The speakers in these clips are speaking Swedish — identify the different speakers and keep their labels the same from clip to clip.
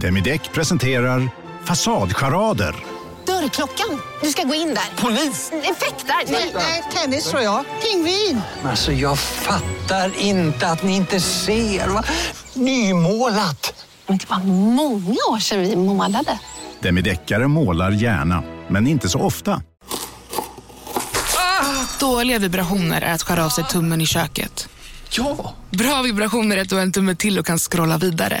Speaker 1: Demideck presenterar Fasadcharader.
Speaker 2: Dörrklockan. Du ska gå in där. Polis? Effektar? Nej, nej, tennis tror jag. Pingvin.
Speaker 3: Alltså jag fattar inte att ni inte ser. Va? Nymålat!
Speaker 2: Men det var många år sedan vi målade.
Speaker 1: Demideckare målar gärna, men inte så ofta.
Speaker 4: Dåliga vibrationer är att skära av sig tummen i köket.
Speaker 3: Ja!
Speaker 4: Bra vibrationer är att du har en tumme till och kan scrolla vidare.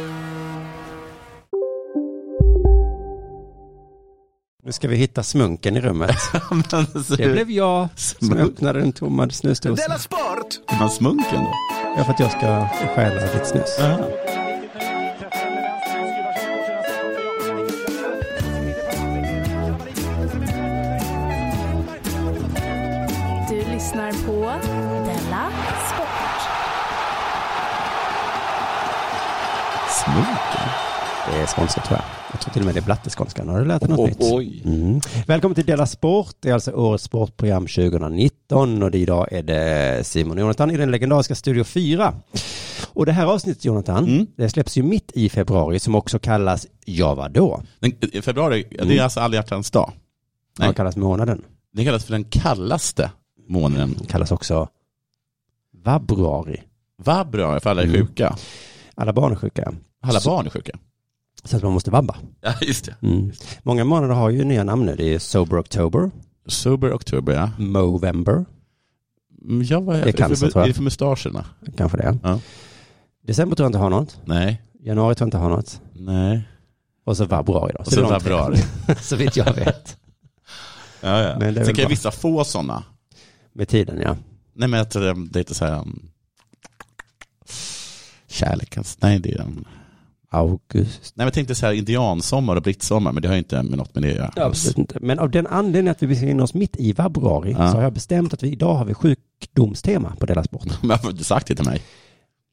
Speaker 5: Nu ska vi hitta smunken i rummet. Det blev jag som öppnade den tomma snusdosan.
Speaker 6: Man smunken då?
Speaker 5: Ja, för att jag ska stjäla ditt snus.
Speaker 7: Du lyssnar på Della Sport.
Speaker 5: Smunken? Det är skånska tror jag. Jag tror till och med det är blatteskånska. Har du lärt dig något nytt?
Speaker 6: Oj.
Speaker 5: Mm. Välkommen till Della Sport. Det är alltså årets sportprogram 2019 och det idag är det Simon och Jonathan i den legendariska Studio 4. Och det här avsnittet Jonathan, det släpps ju mitt i februari som också kallas Ja vadå?
Speaker 6: Den, i februari, ja, det är
Speaker 5: Mm.
Speaker 6: alltså alla hjärtans dag. Nej.
Speaker 5: Den kallas månaden.
Speaker 6: Den kallas för den kallaste månaden.
Speaker 5: Den kallas också Vabruari.
Speaker 6: Vabruari, för alla är
Speaker 5: Mm.
Speaker 6: sjuka.
Speaker 5: Alla barn är sjuka.
Speaker 6: Alla
Speaker 5: Så-
Speaker 6: barn är sjuka.
Speaker 5: Så att man måste vabba.
Speaker 6: Ja, just det.
Speaker 5: Mm. Många månader har ju nya namn nu. Det är Sober October,
Speaker 6: Sober oktober, ja.
Speaker 5: Movember,
Speaker 6: Mm, Ja, vad är
Speaker 5: Det är
Speaker 6: det,
Speaker 5: cancer,
Speaker 6: för,
Speaker 5: tror jag.
Speaker 6: är det för mustascherna?
Speaker 5: kanske det.
Speaker 6: Ja.
Speaker 5: December tror jag inte har något.
Speaker 6: Nej,
Speaker 5: Januari tror jag inte har något.
Speaker 6: nej.
Speaker 5: Och så februari då.
Speaker 6: Och så
Speaker 5: det är de tre.
Speaker 6: februari.
Speaker 5: så vitt jag vet.
Speaker 6: Ja, ja.
Speaker 5: Men det är
Speaker 6: Sen
Speaker 5: väl
Speaker 6: kan ju
Speaker 5: bra.
Speaker 6: vissa få sådana.
Speaker 5: Med tiden ja.
Speaker 6: Nej, men att eh, det är inte så här... um, Kärlekens... Nej, det är... um,
Speaker 5: August.
Speaker 6: Nej, men jag tänkte så här indiansommar och brittsommar, men det har ju inte med något med det att göra.
Speaker 5: Absolut inte. Men av den anledningen att vi befinner oss mitt i februari
Speaker 6: Ja.
Speaker 5: så har jag bestämt att vi idag har vi sjukdomstema på Della Sport.
Speaker 6: Men varför har du sagt det till mig?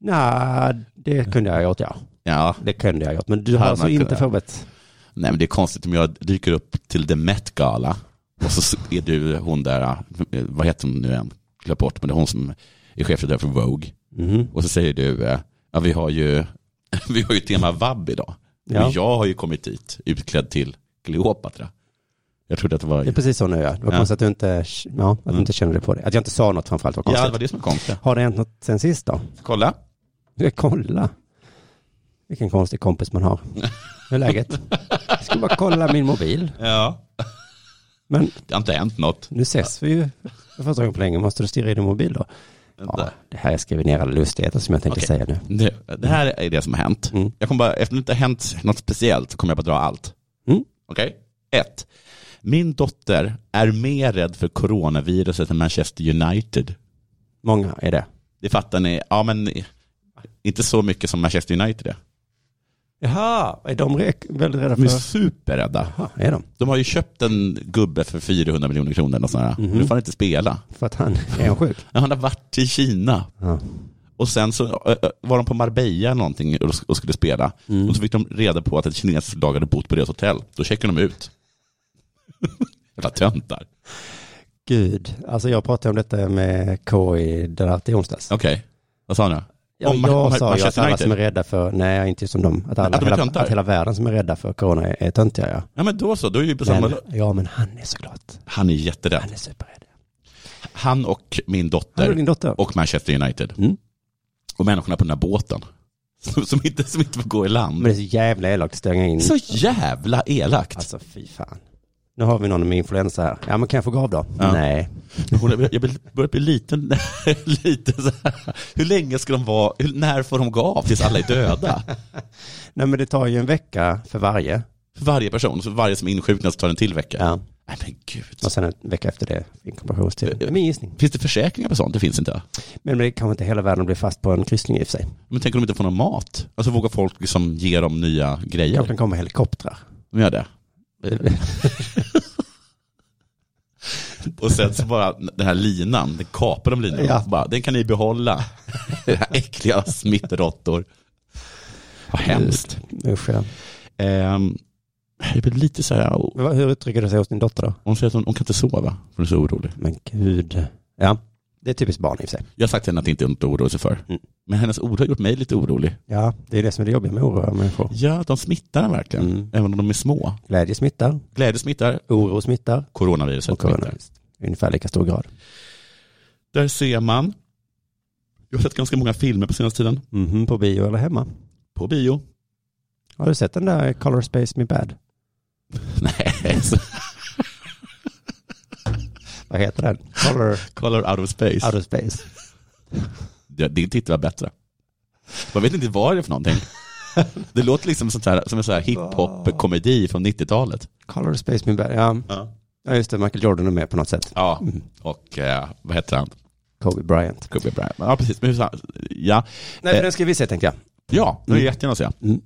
Speaker 5: Nej, det kunde jag ha gjort ja.
Speaker 6: Ja,
Speaker 5: Det kunde jag ha gjort. Men du har
Speaker 6: Hade
Speaker 5: alltså
Speaker 6: man
Speaker 5: inte
Speaker 6: kunnat.
Speaker 5: förberett.
Speaker 6: nej men det är konstigt om jag dyker upp till The Met-gala och så är du hon där, eh, vad heter hon nu än, glöm bort, men det är hon som är chefredaktör för Vogue.
Speaker 5: Mhm.
Speaker 6: Och så säger du, eh, ja vi har ju, vi har ju tema vabb idag.
Speaker 5: Ja.
Speaker 6: Och jag har ju kommit dit utklädd till Cleopatra. Jag trodde att det var,
Speaker 5: Det är precis så nu ja. Det var
Speaker 6: Ja.
Speaker 5: konstigt att du inte, ja, att du
Speaker 6: Mm.
Speaker 5: inte kände det på dig. Att jag inte sa något framförallt var
Speaker 6: ja
Speaker 5: konstigt.
Speaker 6: det var det som var konstigt.
Speaker 5: Har det hänt något sen sist då?
Speaker 6: Kolla,
Speaker 5: Ja, kolla. Vilken konstig kompis man har. Hur är läget? Jag ska bara kolla min mobil.
Speaker 6: ja.
Speaker 5: Men
Speaker 6: det har inte hänt något.
Speaker 5: nu ses vi ju för första gången på länge. Måste du stirra i din mobil då? Ja,
Speaker 6: Vänta.
Speaker 5: det här skriver ner alla lustigheter som jag tänkte
Speaker 6: Okej.
Speaker 5: säga nu.
Speaker 6: Nu, det här är det som har hänt.
Speaker 5: Mm.
Speaker 6: Jag kommer bara, eftersom det inte har hänt något speciellt så kommer jag bara dra allt.
Speaker 5: Mm.
Speaker 6: Okej? Ett. Min dotter är mer rädd för coronaviruset än Manchester United.
Speaker 5: Många är det.
Speaker 6: Det fattar ni. Ja, men inte så mycket som Manchester United är.
Speaker 5: Jaha, är de re- väldigt rädda
Speaker 6: De är
Speaker 5: för?
Speaker 6: superrädda.
Speaker 5: Jaha, är de?
Speaker 6: De har ju köpt en gubbe för 400 miljoner kronor och sådär.
Speaker 5: Mhm.
Speaker 6: Nu får han inte spela.
Speaker 5: För att han är en sjuk?
Speaker 6: Men Han har varit i Kina
Speaker 5: Ja.
Speaker 6: och sen så ö, ö, var de på Marbella någonting och och skulle spela.
Speaker 5: Mm.
Speaker 6: Och så fick de reda på att ett kinesiskt lag hade bott på deras hotell. Då checkade de ut. Jävla töntar.
Speaker 5: Gud, alltså jag pratade om detta med K i Delarte i onsdags.
Speaker 6: Okej, vad sa han då?
Speaker 5: Ja,
Speaker 6: Om-
Speaker 5: jag
Speaker 6: om-
Speaker 5: sa ju att
Speaker 6: Manchester
Speaker 5: alla som är
Speaker 6: United.
Speaker 5: rädda för, nej jag är inte som dem, att, alla,
Speaker 6: Att de är
Speaker 5: hela,
Speaker 6: töntar?
Speaker 5: att hela världen som är rädda för corona är, är töntiga ja.
Speaker 6: Ja men då så, då är vi på samma...
Speaker 5: Men, ja men han är såklart,
Speaker 6: Han är
Speaker 5: han är
Speaker 6: jätterädd.
Speaker 5: superrädd.
Speaker 6: Han och min
Speaker 5: Han och
Speaker 6: dotter
Speaker 5: din dotter.
Speaker 6: och Manchester United.
Speaker 5: Mm.
Speaker 6: Och människorna på den här båten. Som, som, inte, som inte får gå i
Speaker 5: Men
Speaker 6: land.
Speaker 5: det är så jävla elakt att stänga in.
Speaker 6: Så jävla elakt.
Speaker 5: Alltså fy fan. Nu har vi någon med influensa här. Ja men kan jag få gå av då?
Speaker 6: Ja.
Speaker 5: Nej.
Speaker 6: Hon är- Jag börjar bli liten, lite så här. Hur länge ska de vara, hur, när får de gå av tills alla är döda?
Speaker 5: Nej men det tar ju en vecka för varje.
Speaker 6: För varje person, så varje som insjuknar så tar det en till vecka.
Speaker 5: Ja.
Speaker 6: Nej men gud.
Speaker 5: Och sen en vecka efter det, inkubationstid. Det är min gissning.
Speaker 6: Finns det försäkringar på sånt? Det finns inte.
Speaker 5: Men det kanske inte hela världen blir fast på en kryssning i och för sig.
Speaker 6: Men tänk om de inte får någon mat? Alltså vågar folk liksom ge dem nya
Speaker 5: Kanske
Speaker 6: grejer?
Speaker 5: kan komma helikoptrar.
Speaker 6: De gör det. Och sen så bara den här linan, den kapar de linan.
Speaker 5: Ja.
Speaker 6: Bara, den kan ni behålla. Era äckliga smittråttor. Vad hemskt.
Speaker 5: Usch, ja.
Speaker 6: Ehm, jag blir lite så här, oh,
Speaker 5: Men vad- Hur uttrycker det sig hos din dotter då?
Speaker 6: hon säger att hon, hon kan inte sova, för hon är så orolig.
Speaker 5: Men gud. Ja, det är typiskt barn i och för sig.
Speaker 6: Jag har sagt till henne att det inte är något att oroa sig för.
Speaker 5: Mm.
Speaker 6: Men hennes ord har gjort mig lite orolig.
Speaker 5: Ja, det är det som är det jobbiga med oroliga människor.
Speaker 6: Ja, de smittar en verkligen.
Speaker 5: Mm.
Speaker 6: Även om de är små.
Speaker 5: Glädje smittar,
Speaker 6: Glädje smittar,
Speaker 5: oro smittar
Speaker 6: coronaviruset
Speaker 5: och
Speaker 6: smittar.
Speaker 5: coronavirus. I Ungefär lika stor grad.
Speaker 6: Där ser man. Jag har sett ganska många filmer på senaste tiden.
Speaker 5: Mhm, på bio eller hemma.
Speaker 6: På bio.
Speaker 5: Har du sett den där Color Space Me Bad?
Speaker 6: Nej, så-
Speaker 5: Vad heter den? Color
Speaker 6: Color out of space.
Speaker 5: Outer Space.
Speaker 6: Ja, Din titel var bättre. Man vet inte vad det är för någonting. Det låter liksom sånt här, som en sån här hiphop-komedi från 90-talet.
Speaker 5: Color Space Me Bad, ja.
Speaker 6: Ja.
Speaker 5: Ja, just det. Michael Jordan är med på något sätt. Mm.
Speaker 6: Ja, och eh, vad heter han?
Speaker 5: Kobe Bryant.
Speaker 6: Kobe Bryant. Ja, precis. Men hur sa- ja.
Speaker 5: Nej,
Speaker 6: Eh.
Speaker 5: men den ska vi se tänkte jag.
Speaker 6: ja, det vill jag jättegärna se.
Speaker 5: Mm.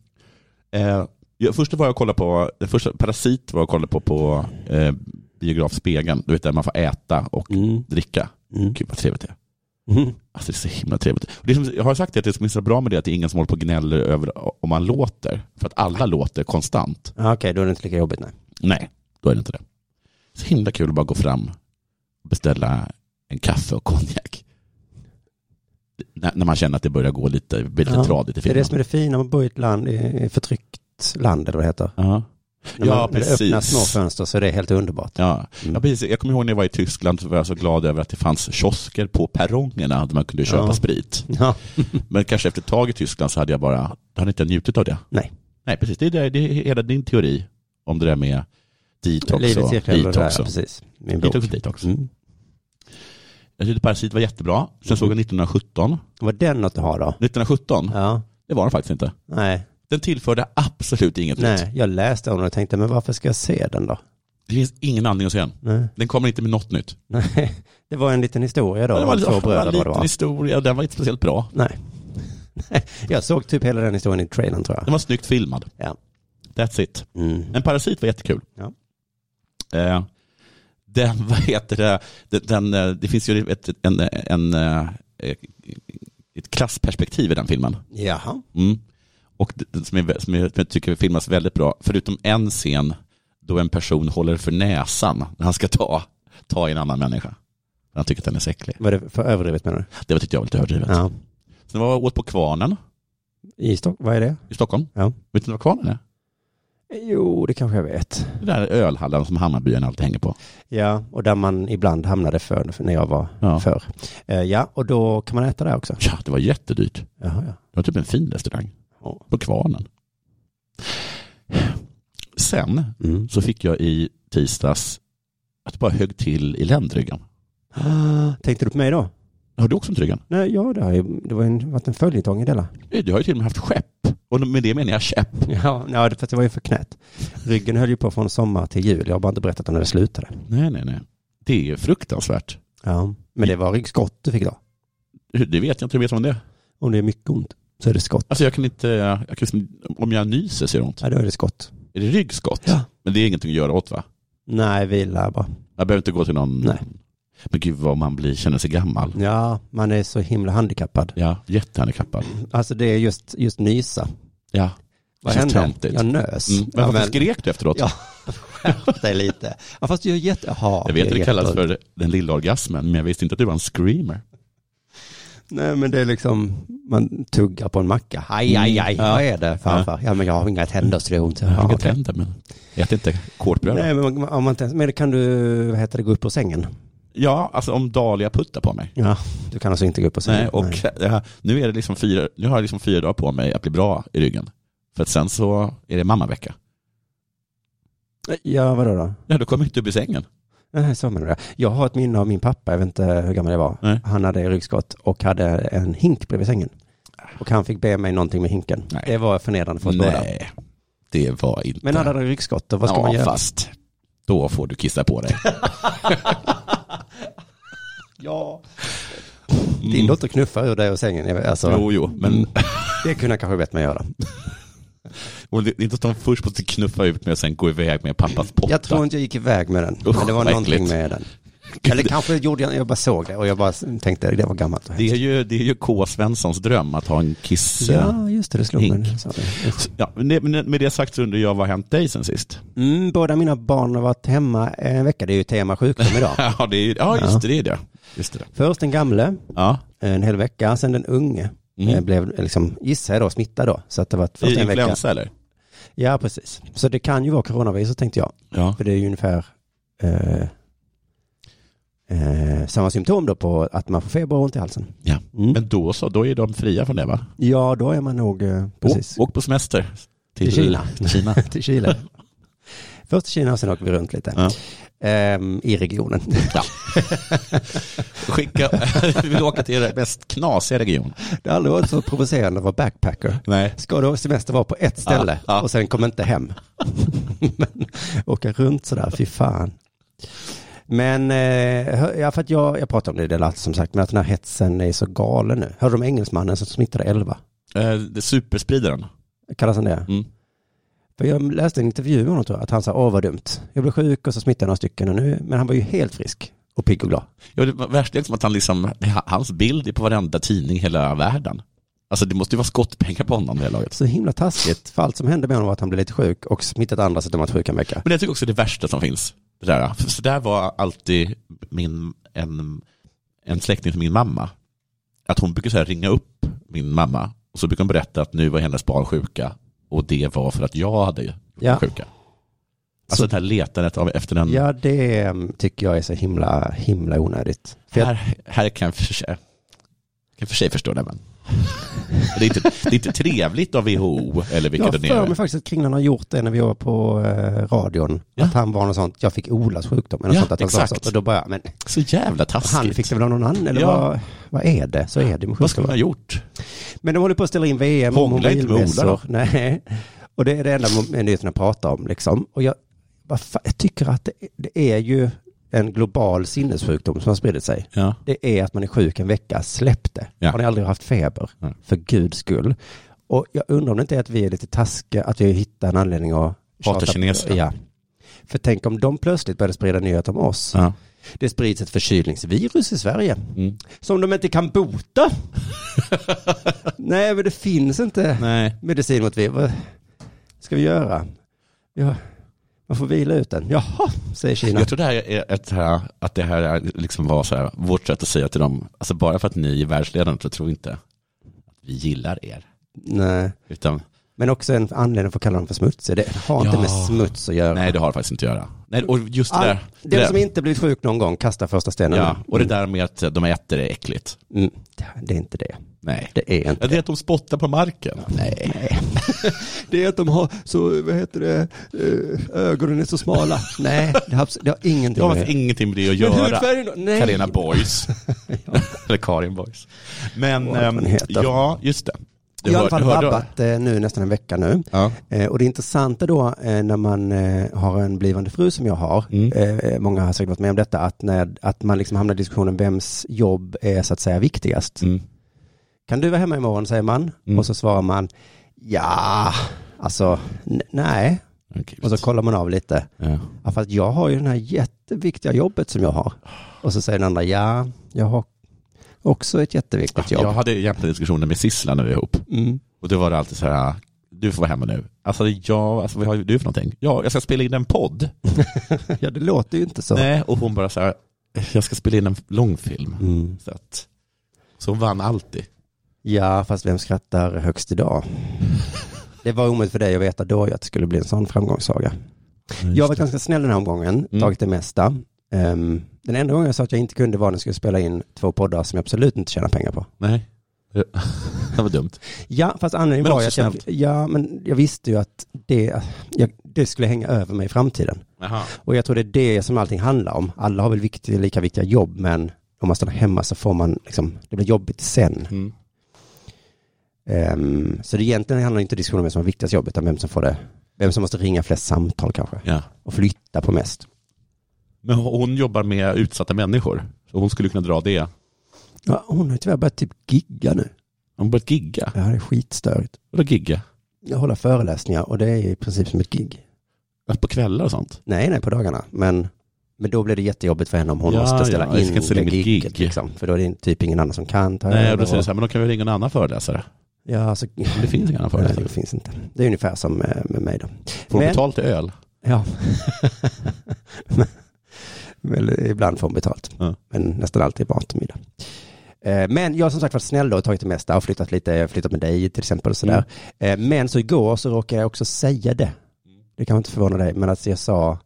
Speaker 6: Eh, jag, första var jag kollade på, den första Parasit var jag kollade på på eh, biografspegeln. Du vet där man får äta och
Speaker 5: Mm.
Speaker 6: dricka.
Speaker 5: Mm.
Speaker 6: Gud vad trevligt det är.
Speaker 5: Mm.
Speaker 6: Alltså det är så himla trevligt. Och det är som, jag har sagt det, att det som är så bra med det är att det är ingen som håller på och gnäller över om man låter. För att alla låter konstant.
Speaker 5: Ja, Okej, då är det inte lika jobbigt nej.
Speaker 6: Nej, då är det inte det. Så himla kul att bara gå fram och beställa en kaffe och konjak. När, när man känner att det börjar gå lite, bli lite
Speaker 5: Ja.
Speaker 6: tradigt
Speaker 5: Det är
Speaker 6: i filmen.
Speaker 5: det som är det fina med att bo i ett land, i ett förtryckt land eller vad det heter.
Speaker 6: Ja.
Speaker 5: När
Speaker 6: Ja,
Speaker 5: man, när det
Speaker 6: precis.
Speaker 5: öppnar små fönster så är det helt underbart.
Speaker 6: Ja.
Speaker 5: Mm.
Speaker 6: Ja, precis. Jag kommer ihåg när jag var i Tyskland så var jag så glad över att det fanns kiosker på perrongerna där man kunde köpa
Speaker 5: Ja.
Speaker 6: sprit.
Speaker 5: Ja.
Speaker 6: Men kanske efter ett tag i Tyskland så hade jag bara, jag hade inte njutit av det.
Speaker 5: Nej.
Speaker 6: Nej, precis. Det är, det, det är hela din teori om det där med detox
Speaker 5: Livet
Speaker 6: och
Speaker 5: cirklar runt det där,
Speaker 6: detox.
Speaker 5: ja,
Speaker 6: och-
Speaker 5: precis. Min bok.
Speaker 6: Detox och detox.
Speaker 5: Mm.
Speaker 6: Jag tyckte Parasit var jättebra. Sen
Speaker 5: Mm.
Speaker 6: såg jag 1917.
Speaker 5: Var den något att ha då?
Speaker 6: 1917?
Speaker 5: Ja.
Speaker 6: Det var den faktiskt inte.
Speaker 5: Nej,
Speaker 6: Den tillförde absolut inget nytt.
Speaker 5: nej. jag läste om den och tänkte, men varför ska jag se den då?
Speaker 6: Det finns ingen anledning att se den.
Speaker 5: Nej.
Speaker 6: Den kommer inte med något nytt.
Speaker 5: nej. Det var en liten historia då,
Speaker 6: Ja, det var
Speaker 5: om
Speaker 6: lite-
Speaker 5: två bröder
Speaker 6: det
Speaker 5: vad
Speaker 6: var
Speaker 5: det var.
Speaker 6: en liten historia, den var inte speciellt bra.
Speaker 5: Nej. Nej. Jag såg typ hela den historien i trailern tror
Speaker 6: Den
Speaker 5: jag.
Speaker 6: var snyggt filmad.
Speaker 5: Ja.
Speaker 6: That's it.
Speaker 5: Mm.
Speaker 6: En parasit var jättekul.
Speaker 5: Ja.
Speaker 6: Eh, den, vad heter det, den, den, eh, det finns ju ett, en, en, eh, ett klassperspektiv i den filmen.
Speaker 5: Jaha.
Speaker 6: Mm. Och det, som, är, som, är, som jag tycker filmas väldigt bra, förutom en scen då en person håller för näsan när han ska ta, ta i en annan människa. Han tycker att den är så äcklig.
Speaker 5: Var det för överdrivet menar du?
Speaker 6: Det var- tyckte jag var lite överdrivet.
Speaker 5: Ja.
Speaker 6: Sen var jag åt på Kvarnen
Speaker 5: I Stock, vad är det?
Speaker 6: i Stockholm.
Speaker 5: Ja.
Speaker 6: Vet ni vad Kvarnen är?
Speaker 5: Jo, det kanske jag vet.
Speaker 6: Det där är ölhallen som Hammarbyarna alltid hänger på.
Speaker 5: Ja, och där man ibland hamnade för för när jag var
Speaker 6: Ja.
Speaker 5: förr. Eh, ja, och då kan man äta där också.
Speaker 6: Ja, det var jättedyrt.
Speaker 5: Jaha, ja.
Speaker 6: Det var typ en fin restaurang.
Speaker 5: Ja.
Speaker 6: På Kvarnen. Sen
Speaker 5: Mm.
Speaker 6: så fick jag i tisdags att det bara högg till i ländryggen.
Speaker 5: Ah, tänkte du på mig då?
Speaker 6: Har du också ont i ryggen?
Speaker 5: Nej, ja, det, har ju, det var en, varit en följetong i Della.
Speaker 6: Du Eh, har ju till och med haft skepp. Och med det menar jag käpp.
Speaker 5: Ja, nej, det- för att det var ju för knät. Ryggen höll ju på från sommar till jul. Jag har bara inte berättat om när det slutade.
Speaker 6: Nej, nej, nej. Det är ju fruktansvärt. Eh,
Speaker 5: Ja, men det var ryggskott du fick då.
Speaker 6: Det vet jag inte hur vet om det. är.
Speaker 5: Om det är mycket ont så är det skott.
Speaker 6: Alltså jag kan inte, jag kan, liksom- om jag nyser så gör det ont.
Speaker 5: Ja, då är det skott.
Speaker 6: Är det ryggskott?
Speaker 5: Ja.
Speaker 6: Men det är ingenting att göra åt va?
Speaker 5: Nej, vila bara.
Speaker 6: Jag behöver inte gå till någon...
Speaker 5: Nej.
Speaker 6: Men gud vad man blir, känner sig gammal.
Speaker 5: Ja, man är så himla handikappad.
Speaker 6: Ja, jättehandikappad.
Speaker 5: Alltså det är just, just nysa.
Speaker 6: Ja.
Speaker 5: Vad
Speaker 6: Det känns
Speaker 5: hände?
Speaker 6: töntigt.
Speaker 5: Jag nös.
Speaker 6: Mm. Men
Speaker 5: ja,
Speaker 6: varför skrek du efteråt?
Speaker 5: Ja, skärp dig lite. Ja, fast jag är jätte... Jaha,
Speaker 6: jag vet
Speaker 5: är
Speaker 6: att det kallas
Speaker 5: jätte-
Speaker 6: för den lilla orgasmen, men jag visste inte att du var en screamer.
Speaker 5: Nej, men det är liksom, man tuggar på en macka. Aj, aj, aj,
Speaker 6: Mm.
Speaker 5: vad är det farfar? Ja, men jag har inga tänder så det är ont.
Speaker 6: Jag har
Speaker 5: Ja,
Speaker 6: inga
Speaker 5: okej.
Speaker 6: tänder, men ät inte kårbröd. då.
Speaker 5: Nej, men, man- om man inte, ens- men kan du, vad heter det, gå upp ur sängen?
Speaker 6: Ja, alltså om Dahlia puttar på mig.
Speaker 5: Ja, du kan alltså inte gå upp ur sängen.
Speaker 6: Nej, och det här- nu, är det liksom fyra, nu har jag liksom fyra dagar på mig att bli bra i ryggen. För att sen så är det mammavecka.
Speaker 5: Nej. Ja, vadå då?
Speaker 6: Ja, då kommer jag inte upp i sängen.
Speaker 5: Nej, så menar du. Jag har ett minne av min pappa, jag vet inte hur gammal jag var.
Speaker 6: Nej.
Speaker 5: Han hade ryggskott och hade en hink bredvid sängen. Och han fick be mig någonting med hinken.
Speaker 6: Ah. Nej.
Speaker 5: Det var förnedrande för oss båda.
Speaker 6: Nej, det var inte...
Speaker 5: Men hade han ryggskott, då, vad ska
Speaker 6: ja,
Speaker 5: man göra?
Speaker 6: fast då får du kissa på dig.
Speaker 5: Ja. Din dotter knuffar ur dig och sängen. jag vet, Alltså,
Speaker 6: Mm. Jo, jo, men
Speaker 5: Det kunde jag kanske bett mig göra.
Speaker 6: och det är inte att de först måste knuffa ut mig och sen gå iväg med pappas potta.
Speaker 5: Jag tror inte jag gick iväg med den.
Speaker 6: Usch,
Speaker 5: men det var
Speaker 6: vad
Speaker 5: någonting
Speaker 6: äckligt.
Speaker 5: med den. Eller kanske gjorde jag, jag bara såg det och jag bara tänkte det var gammalt. och
Speaker 6: Det är
Speaker 5: hemskt.
Speaker 6: ju, det är ju K. Svenssons dröm att ha en kiss.
Speaker 5: Ja, just det, det slog mig.
Speaker 6: Hink.
Speaker 5: när du sa det.
Speaker 6: Ja, men det- men med det sagt så undrar jag, vad har hänt dig sen sist?
Speaker 5: Mm, båda mina barn har varit hemma en vecka, det är ju tema sjukdom idag.
Speaker 6: Ja, det är, ju- ja just det, det är det. Just det.
Speaker 5: Först den gamle,
Speaker 6: Ja.
Speaker 5: en hel vecka, sen den unge.
Speaker 6: Mm.
Speaker 5: Eh, Blev liksom, gissar jag då, smittad då. Så att det var först en vecka.
Speaker 6: Influensa eller?
Speaker 5: Ja, precis. Så det kan ju vara coronaviruset tänkte jag.
Speaker 6: Ja.
Speaker 5: För det är ju ungefär eh, eh, samma symptom då på att man får feber och ont i halsen.
Speaker 6: ja.
Speaker 5: Mm.
Speaker 6: Men då så, då är de fria från det va?
Speaker 5: Ja, då är man nog, eh, precis.
Speaker 6: Åk, åk på semester.
Speaker 5: Till Kina.
Speaker 6: Kina.
Speaker 5: till Chile. Först till Kina och sen åker vi runt lite.
Speaker 6: Ja.
Speaker 5: Ehm, I regionen.
Speaker 6: Skicka, vi vill åka till er mest knasiga region.
Speaker 5: Det har aldrig varit så provocerande att vara backpacker.
Speaker 6: Nej.
Speaker 5: Ska då semester vara på ett ställe
Speaker 6: Ja, ja.
Speaker 5: och sen komma inte hem. Men åka runt sådär, fy fan. Men, eh, hör- ja, för att jag, jag pratade om det i det lät som sagt, men att den här hetsen är så galen nu. Hörde du om engelsmannen som smittade elva?
Speaker 6: Eh, det är superspridaren.
Speaker 5: Kallas han det?
Speaker 6: Mm.
Speaker 5: För jag läste en intervju med honom tror jag, att han sa, åh vad dumt. Jag blev sjuk och så smittade jag några stycken och nu, men han var ju helt frisk och pigg och glad.
Speaker 6: Ja, det värsta är liksom att han liksom, hans bild är på varenda tidning i hela världen. Alltså det måste ju vara skottpengar på honom i det här laget.
Speaker 5: Så himla taskigt, för allt som hände med honom var att han blev lite sjuk och smittat andra så att de varit sjuka en vecka.
Speaker 6: Men jag tycker också det är det värsta som finns. Det där. För Så där var alltid min, en, en släkting till min mamma. Att hon brukar så här ringa upp min mamma och så brukar hon berätta att nu var hennes barn sjuka och det var för att jag hade gjort
Speaker 5: Ja.
Speaker 6: dem sjuka. Alltså det här letandet av, efter en...
Speaker 5: Ja, det eh, tycker jag är så himla, himla onödigt. För jag,
Speaker 6: Här, här kan jag för sig, kan jag för sig förstå det men. Det är, inte, det är inte trevligt av WHO eller
Speaker 5: jag
Speaker 6: vilka
Speaker 5: har
Speaker 6: det
Speaker 5: för mig
Speaker 6: är.
Speaker 5: faktiskt att Kringlan har gjort det när vi var på eh, radion.
Speaker 6: Ja.
Speaker 5: Att han var något sånt, jag fick Olas sjukdom eller något
Speaker 6: Ja,
Speaker 5: sånt. Att han sa
Speaker 6: exakt.
Speaker 5: sånt. Och då bara, jag, men
Speaker 6: Så jävla
Speaker 5: han
Speaker 6: taskigt.
Speaker 5: fick det väl av någon annan eller
Speaker 6: Ja.
Speaker 5: vad, vad är det? Så är det med
Speaker 6: Vad
Speaker 5: sjukdomar.
Speaker 6: skulle man ha gjort?
Speaker 5: Men de håller på att ställa in VM och
Speaker 6: Hångla inte med Ola
Speaker 5: mobilmässor.
Speaker 6: då.
Speaker 5: Nej, och det är det enda mo- nyheterna pratar om liksom. Och jag, vad fan, jag tycker att det, det är ju en global sinnessjukdom som har spridit sig.
Speaker 6: Ja.
Speaker 5: Det är att man är sjuk en vecka, släpp det.
Speaker 6: Ja.
Speaker 5: Har ni aldrig haft feber?
Speaker 6: Nej.
Speaker 5: För guds skull. Och jag undrar om det inte är att vi är lite taskiga, att vi hittar en anledning att
Speaker 6: Hata
Speaker 5: tjata-
Speaker 6: kineserna.
Speaker 5: Ja. För tänk om de plötsligt började sprida nyheter om oss.
Speaker 6: Ja.
Speaker 5: Det sprids ett förkylningsvirus i Sverige.
Speaker 6: Mm.
Speaker 5: Som de inte kan bota. Nej, men det finns inte
Speaker 6: Nej.
Speaker 5: medicin mot virus. Vad ska vi göra? Ja, man får vila ut den. Jaha, säger Kina.
Speaker 6: Jag tror det här är ett, här- att det här är liksom var så här, vårt sätt att säga till dem, alltså bara för att ni är världsledande så tror inte att vi gillar er.
Speaker 5: Nej.
Speaker 6: Utan,
Speaker 5: Men också en anledning för att kalla dem för smutsiga. Det har inte
Speaker 6: Ja.
Speaker 5: med smuts att göra.
Speaker 6: nej det har det faktiskt inte att göra. Nej, och just det
Speaker 5: All,
Speaker 6: där, det
Speaker 5: den som
Speaker 6: där
Speaker 5: inte blivit sjuk någon gång kastar första stenen.
Speaker 6: ja, och det där med att de äter är äckligt.
Speaker 5: Mm. Det är inte det.
Speaker 6: Nej.
Speaker 5: Det är inte
Speaker 6: Ja, Det är att de spottar på marken.
Speaker 5: Nej. Det är att de har så, vad heter det, eh, ögonen är så smala. Nej, det har, abs- det har
Speaker 6: Det
Speaker 5: ingenting
Speaker 6: har faktiskt ingenting med det att göra.
Speaker 5: hudfärgen då? Nej.
Speaker 6: Carina Boys. Eller Karin Boys. Men,
Speaker 5: Vad fan
Speaker 6: ehm,
Speaker 5: heter.
Speaker 6: ja, just det. Du
Speaker 5: Jag har i alla
Speaker 6: hör-
Speaker 5: fall
Speaker 6: du hörde-
Speaker 5: vabbat eh, nu nästan en vecka nu.
Speaker 6: Ja.
Speaker 5: Eh, och det intressanta då eh, när man eh, har en blivande fru som jag har,
Speaker 6: Mm.
Speaker 5: eh, många har säkert varit med om detta, att, när, att man liksom hamnar i diskussionen vems jobb är så att säga viktigast.
Speaker 6: Mm.
Speaker 5: Kan du vara hemma imorgon, säger man. Och så svarar man, ja, alltså, n- nej.
Speaker 6: Okej,
Speaker 5: Och så kollar man av lite.
Speaker 6: ja.
Speaker 5: Ja, fast jag har ju det här jätteviktiga jobbet som jag har. Och så säger den andra, ja, jag har också ett jätteviktigt jobb.
Speaker 6: Jag hade egentligen diskussioner med Sissela nu ihop.
Speaker 5: Mm.
Speaker 6: Och då var det alltid så här, du får vara hemma nu. Alltså, jag, alltså vad har du för någonting? Ja, jag ska spela in en podd.
Speaker 5: Ja, det låter ju inte så.
Speaker 6: Nej, och hon bara så här, jag ska spela in en långfilm.
Speaker 5: Mm.
Speaker 6: Så, att, så hon vann alltid.
Speaker 5: Ja, fast vem skrattar högst idag? Det var omöjligt för dig att veta då att det skulle bli en sån framgångssaga. Jag har varit ganska snäll den här omgången,
Speaker 6: Mm.
Speaker 5: tagit det mesta. Ehm, den enda gången jag sa att jag inte kunde var när jag skulle spela in två poddar som jag absolut inte tjänar pengar på.
Speaker 6: Nej. Det var dumt.
Speaker 5: Ja, fast anledningen
Speaker 6: Men
Speaker 5: var
Speaker 6: också
Speaker 5: ju att jag, ja, men jag visste ju att det, jag, det skulle hänga över mig i framtiden.
Speaker 6: Jaha.
Speaker 5: Och jag tror det är det som allting handlar om. Alla har väl viktiga, lika viktiga jobb, men om man stannar hemma så får man liksom, det blir jobbigt sen.
Speaker 6: Mm.
Speaker 5: Ehm, så det egentligen handlar inte diskussionen om vem som har viktigast jobb, utan vem som får det, vem som måste ringa flest samtal kanske.
Speaker 6: Ja.
Speaker 5: Och flytta på mest.
Speaker 6: Men hon jobbar med utsatta människor. Så hon skulle kunna dra det.
Speaker 5: Ja, hon har ju tyvärr börjat typ gigga nu.
Speaker 6: Hon har börjat gigga.
Speaker 5: Det här är skitstörigt.
Speaker 6: Vadå gigga?
Speaker 5: Jag håller föreläsningar och det är i princip som ett gig.
Speaker 6: Att På kvällar och sånt?
Speaker 5: Nej, nej, på dagarna, men Men då blir det jättejobbigt för henne om hon
Speaker 6: Ja,
Speaker 5: måste ställa
Speaker 6: ja, jag
Speaker 5: in
Speaker 6: ska ställa
Speaker 5: det
Speaker 6: in mitt
Speaker 5: gigget.
Speaker 6: gig.
Speaker 5: Liksom. För då är det typ ingen annan som kan ta
Speaker 6: Nej,
Speaker 5: över
Speaker 6: och då säger du
Speaker 5: och-
Speaker 6: så här, men då kan vi ringa en annan föreläsare.
Speaker 5: Ja, alltså,
Speaker 6: Men Det finns inga annan
Speaker 5: nej,
Speaker 6: föreläsare.
Speaker 5: det finns inte. Det är ungefär som eh, med mig då.
Speaker 6: Får de
Speaker 5: Men-
Speaker 6: betalt i öl?
Speaker 5: Ja. Men ibland får hon betalt.
Speaker 6: Ja.
Speaker 5: Men nästan alltid mat och middag. Eh, Men jag har som sagt varit snäll då och tagit det mesta och flyttat lite, flyttat med dig till exempel och sådär.
Speaker 6: Mm.
Speaker 5: Eh, Men så igår så råkade jag också säga det. Det kan inte förvåna dig, men alltså jag sa,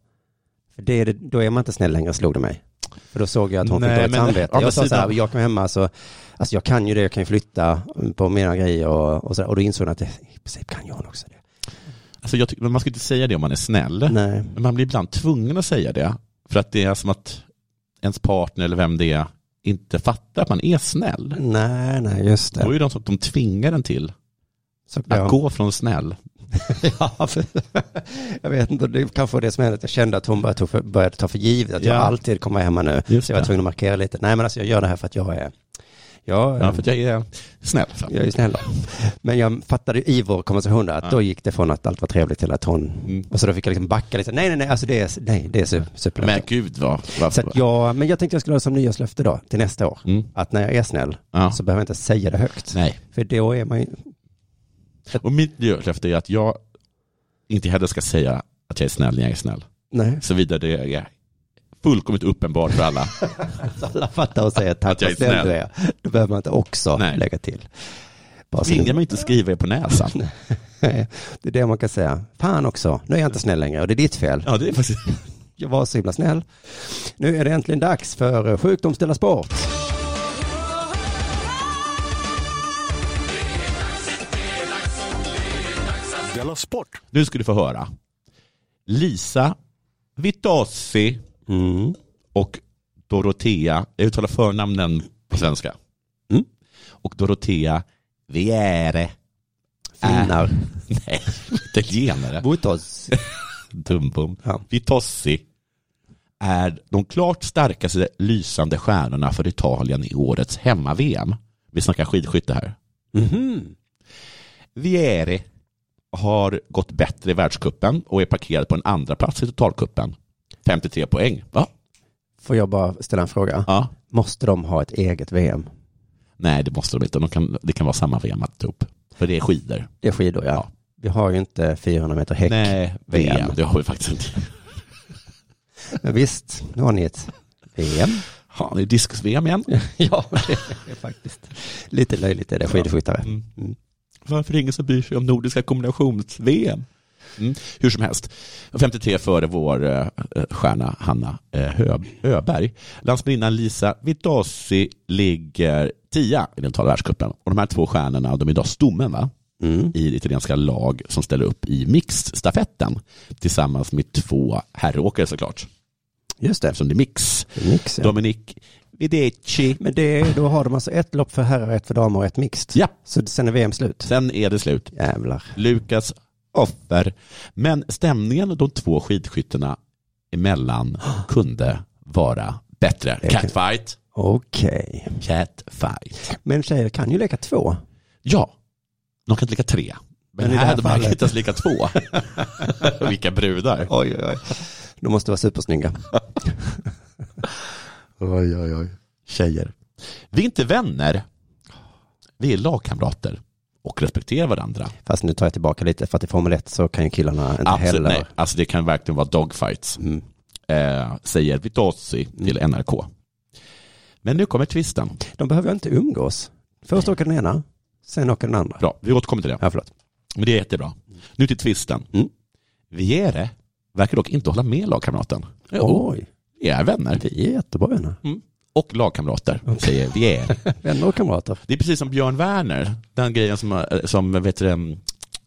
Speaker 5: för det är det, då är man inte snäll längre slog det mig. För då såg jag att hon
Speaker 6: Nej,
Speaker 5: fick dåligt
Speaker 6: men-
Speaker 5: samvete.
Speaker 6: å andra
Speaker 5: Jag sa så här,
Speaker 6: sidan-
Speaker 5: jag kom hemma så, alltså jag kan ju det, jag kan ju flytta på mina grejer och, och sådär. Och då insåg hon att det, i princip kan ju hon också det.
Speaker 6: Alltså jag tycker, men man ska inte säga det om man är snäll.
Speaker 5: Nej.
Speaker 6: Men man blir ibland tvungen att säga det. För att det är som att ens partner eller vem det är inte fattar att man är snäll.
Speaker 5: Nej, nej, just
Speaker 6: Då är
Speaker 5: det.
Speaker 6: ju de som de tvingar en till
Speaker 5: Så,
Speaker 6: att
Speaker 5: ja.
Speaker 6: gå från snäll.
Speaker 5: Ja, för, jag vet inte, det kanske var det som hände, att jag kände att hon började, tog för, började ta för givet att
Speaker 6: Ja.
Speaker 5: jag alltid kommer vara hemma nu.
Speaker 6: Just
Speaker 5: så jag var
Speaker 6: det.
Speaker 5: tvungen att markera lite. Nej men alltså jag gör det här för att jag är, jag,
Speaker 6: Ja, för att jag är snäll.
Speaker 5: jag är ju snäll. Men jag fattade ju i vår konversation där, att
Speaker 6: Ja.
Speaker 5: då gick det från att allt var trevligt till att hon,
Speaker 6: Mm.
Speaker 5: och så då fick jag liksom backa lite, nej nej nej, alltså det är, nej, det är su- superlätt.
Speaker 6: Men gud vad...
Speaker 5: Så att jag, men jag tänkte jag skulle ha det som nyårslöfte då, till nästa år.
Speaker 6: Mm.
Speaker 5: Att när jag är snäll
Speaker 6: Ja.
Speaker 5: så behöver jag inte säga det högt.
Speaker 6: Nej.
Speaker 5: För då är man ju,
Speaker 6: Och mitt nyårslöfte är att jag inte heller ska säga att jag är snäll när jag är snäll.
Speaker 5: nej.
Speaker 6: Såvida det är fullkomligt uppenbart för alla.
Speaker 5: Alltså, Så alla fattar och säger tack
Speaker 6: Att jag
Speaker 5: vad
Speaker 6: är
Speaker 5: snäll
Speaker 6: snäll.
Speaker 5: du är. Då behöver man inte också
Speaker 6: Nej.
Speaker 5: lägga till. Bara så
Speaker 6: Tvinga mig inte skriva er på näsan.
Speaker 5: det, det är det man kan säga. Fan också, nu är jag inte snäll längre och det är ditt fel.
Speaker 6: Ja, det är faktiskt...
Speaker 5: Jag var så himla snäll. Nu är det äntligen dags för eh, Sjukdom ställa sport.
Speaker 1: Della Sport.
Speaker 6: Nu ska du få höra. Lisa Vitozzi
Speaker 5: Mm.
Speaker 6: och Dorotea, jag uttalar förnamnen på svenska.
Speaker 5: Mm.
Speaker 6: Och Dorotea Viere.
Speaker 5: Finnar.
Speaker 6: Nej, italienare.
Speaker 5: Äh. Mot oss.
Speaker 6: Dumbom.
Speaker 5: Ja.
Speaker 6: Vitozzi är de klart starkaste lysande stjärnorna för Italien i årets hemma-VM. Vi snackar skidskytte här.
Speaker 5: Mhm.
Speaker 6: Vieri har gått bättre i världskuppen och är parkerad på en andra plats i totalkuppen. 53 poäng. Va?
Speaker 5: Får jag bara ställa en fråga?
Speaker 6: Ja.
Speaker 5: Måste de ha ett eget VM?
Speaker 6: Nej, det måste de inte. De kan, det kan vara samma VM alltihop. För det är skidor.
Speaker 5: Det är skidor ja.
Speaker 6: Ja.
Speaker 5: Vi har ju inte 400 meter häck.
Speaker 6: Nej, VM.
Speaker 5: VM.
Speaker 6: Det har vi faktiskt inte.
Speaker 5: Men visst, nu har ni ett VM.
Speaker 6: Ja, det är diskus-VM igen.
Speaker 5: ja, det är faktiskt. Lite löjligt är det skidskyttare.
Speaker 6: Mm. Varför är det ingen som bryr sig om nordiska kombinations-VM? Mm. Hur som helst, 53 före vår eh, stjärna Hanna eh, Hö- Öberg. Landsmärinnan Lisa Vitozzi ligger tia i den totala världscupen. Och de här två stjärnorna, de är idag stommen va?
Speaker 5: Mm.
Speaker 6: i det italienska lag som ställer upp i mixstafetten tillsammans med två herråkare såklart,
Speaker 5: Just det.
Speaker 6: eftersom det är mix.
Speaker 5: Mix, ja.
Speaker 6: Dominic Videci.
Speaker 5: Men det, då har de alltså ett lopp för herrar, ett för damer och ett mixt.
Speaker 6: Ja,
Speaker 5: Så sen är VM slut.
Speaker 6: sen är det slut.
Speaker 5: Jävlar.
Speaker 6: Lukas offer. Men stämningen de två skidskyttarna emellan kunde vara bättre.
Speaker 5: Det kan-
Speaker 6: Catfight.
Speaker 5: Okej.
Speaker 6: Catfight.
Speaker 5: Men tjejer kan ju leka två.
Speaker 6: Ja, de kan inte lika tre. Men,
Speaker 5: Men i det
Speaker 6: här
Speaker 5: här
Speaker 6: hade man
Speaker 5: fallet-
Speaker 6: lyckats lika två. Vilka brudar.
Speaker 5: Oj, oj, oj. De måste vara supersnygga.
Speaker 6: Oj, oj, oj. Tjejer. Vi är inte vänner. Vi är lagkamrater och respekterar varandra.
Speaker 5: Fast nu tar jag tillbaka lite, för att i Formel 1 så kan ju killarna inte
Speaker 6: Absolut,
Speaker 5: heller.
Speaker 6: nej. Alltså det kan verkligen vara dogfights,
Speaker 5: Mm.
Speaker 6: eh, säger Vitozzi till NRK. Men nu kommer twisten.
Speaker 5: De behöver ju inte umgås. Först åker den ena, sen åker den andra.
Speaker 6: Bra, vi återkommer till det.
Speaker 5: Ja, förlåt.
Speaker 6: Men det är jättebra. Nu till twisten.
Speaker 5: Mm.
Speaker 6: Viere verkar dock inte hålla med lagkamraten.
Speaker 5: Oj,
Speaker 6: Vi är vänner.
Speaker 5: vi är jättebra vänner.
Speaker 6: Och lagkamrater, säger Viere.
Speaker 5: Vänner och kamrater.
Speaker 6: Det är precis som Björn Werner, den grejen som, eh, som vet du, em,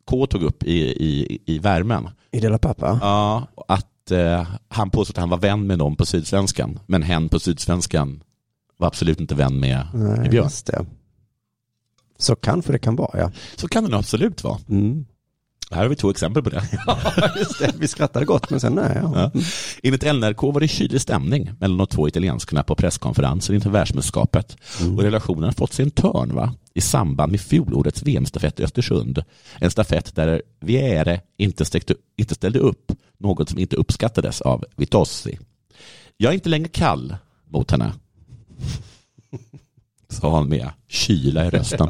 Speaker 6: K tog upp i, i, i värmen.
Speaker 5: I Dela Pappa.
Speaker 6: Ja, att eh, han påstod att han var vän med någon på Sydsvenskan, men hen på Sydsvenskan var absolut inte vän med, med
Speaker 5: Nej,
Speaker 6: Björn.
Speaker 5: just det. Så kanske det kan vara, ja.
Speaker 6: Så kan det nog absolut vara.
Speaker 5: Mm.
Speaker 6: Här har vi två exempel på det.
Speaker 5: Just det, vi skrattade gott, men sen nej. Ja.
Speaker 6: Ja. Enligt NRK var det kylig stämning mellan de två italienskorna på presskonferensen inför världsmästerskapet. Och relationen har fått sig en törn va? i samband med fjolårets VM-stafett i Östersund. En stafett där Viere inte, stäckte, inte ställde upp, något som inte uppskattades av Vitozzi. Jag är inte längre kall mot henne. Sa han med kyla i rösten.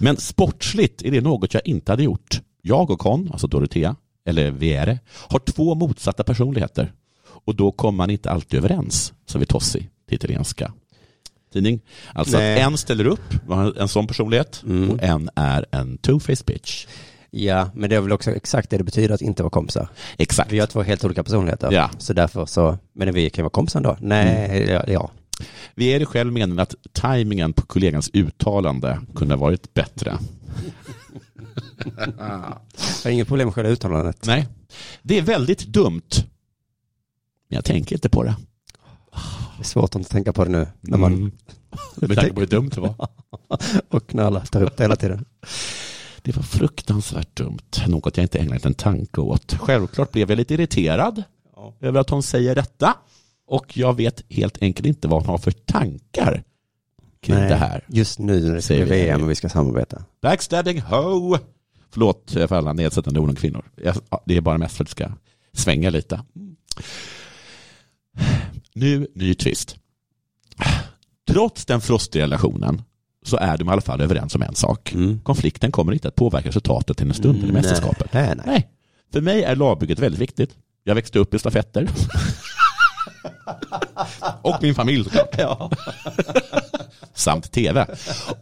Speaker 6: Men sportsligt är det något jag inte hade gjort. Jag och Con, alltså Dorothea, eller Viere, har två motsatta personligheter. Och då kommer man inte alltid överens, sa Vitossi till italienska tidning. Alltså
Speaker 5: Nej.
Speaker 6: att en ställer upp, en sån personlighet, och en är en two-faced bitch.
Speaker 5: Ja, men det är väl också exakt det det betyder att inte vara kompisar.
Speaker 6: Exakt.
Speaker 5: Vi har två helt olika personligheter.
Speaker 6: Ja. Mm.
Speaker 5: Så därför så, men vi kan ju vara kompisar då. Nej, ja, ja.
Speaker 6: Vi är det själv menar att tajmingen på kollegans uttalande kunde ha varit bättre.
Speaker 5: Jag har inget problem med själva uttalandet.
Speaker 6: Nej, det är väldigt dumt. Men jag tänker inte på det.
Speaker 5: Det är svårt att inte tänka på det nu när man
Speaker 6: Mm. Med tanke på hur dumt det var.
Speaker 5: och när alla tar upp det hela tiden.
Speaker 6: Det var fruktansvärt dumt. Något jag inte ägnat en tanke åt. Självklart blev jag lite irriterad över att hon säger detta. Och jag vet helt enkelt inte vad hon har för tankar kring det här.
Speaker 5: Just nu när det ska
Speaker 6: Säger
Speaker 5: bli
Speaker 6: vi.
Speaker 5: VM och vi ska samarbeta.
Speaker 6: Backstabbing ho! Förlåt för alla nedsättande ord om kvinnor. Jag- ja, Det är bara mest för att det ska svänga lite. Nu, ny twist. Trots den frostiga relationen så är de i alla fall överens om en sak.
Speaker 5: Mm.
Speaker 6: Konflikten kommer inte att påverka resultatet till den stund i mästerskapet.
Speaker 5: Nej, nej.
Speaker 6: Nej. För mig är lagbygget väldigt viktigt. Jag växte upp i stafetter. och min familj såklart. Samt tv.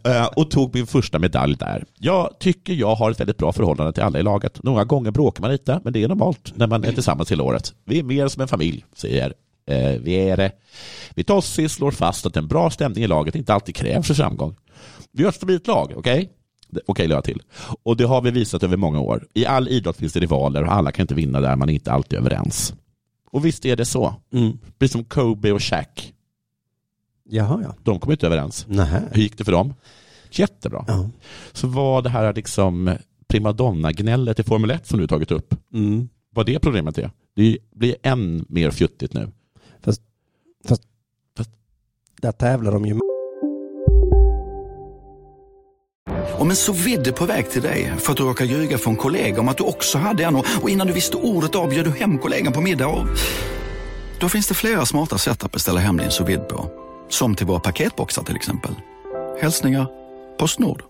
Speaker 6: Eh, Och tog min första medalj där. Jag tycker jag har ett väldigt bra förhållande till alla i laget. Några gånger bråkar man lite, men det är normalt när man är tillsammans hela året. Vi är mer som en familj, säger eh, Viere. Vitossi slår fast att en bra stämning i laget inte alltid krävs för framgång. Vi har ett stabilt lag, okej? Det- Okej, okay, jag till. Och det har vi visat över många år. I all idrott finns det rivaler och alla kan inte vinna där man är inte alltid är överens. Och visst är det så.
Speaker 5: Mm.
Speaker 6: Precis som Kobe och Shaq.
Speaker 5: Jaha, ja.
Speaker 6: De kom inte överens.
Speaker 5: Nej.
Speaker 6: Hur gick det för dem? Jättebra.
Speaker 5: Ja.
Speaker 6: Så var det här liksom primadonna-gnället i Formel 1 som du tagit upp,
Speaker 5: Mm.
Speaker 6: vad det problemet är? Det blir än mer fjuttigt nu.
Speaker 5: Där tävlar de ju med.
Speaker 8: Om en så vidde på väg till dig för att du råkar ljuga från kollega om att du också hade en och och innan du visste ordet av bjöd du hem kollegan på middag och... Då finns det flera smarta sätt att beställa hem din sous vide på. Som till våra paketboxar till exempel. Hälsningar Postnord.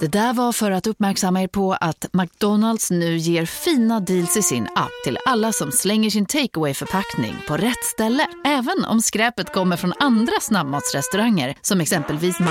Speaker 9: Det där var för att uppmärksamma er på att McDonalds nu ger fina deals i sin app till alla som slänger sin takeaway förpackning på rätt ställe. Även om skräpet kommer från andra snabbmatsrestauranger som exempelvis Ma...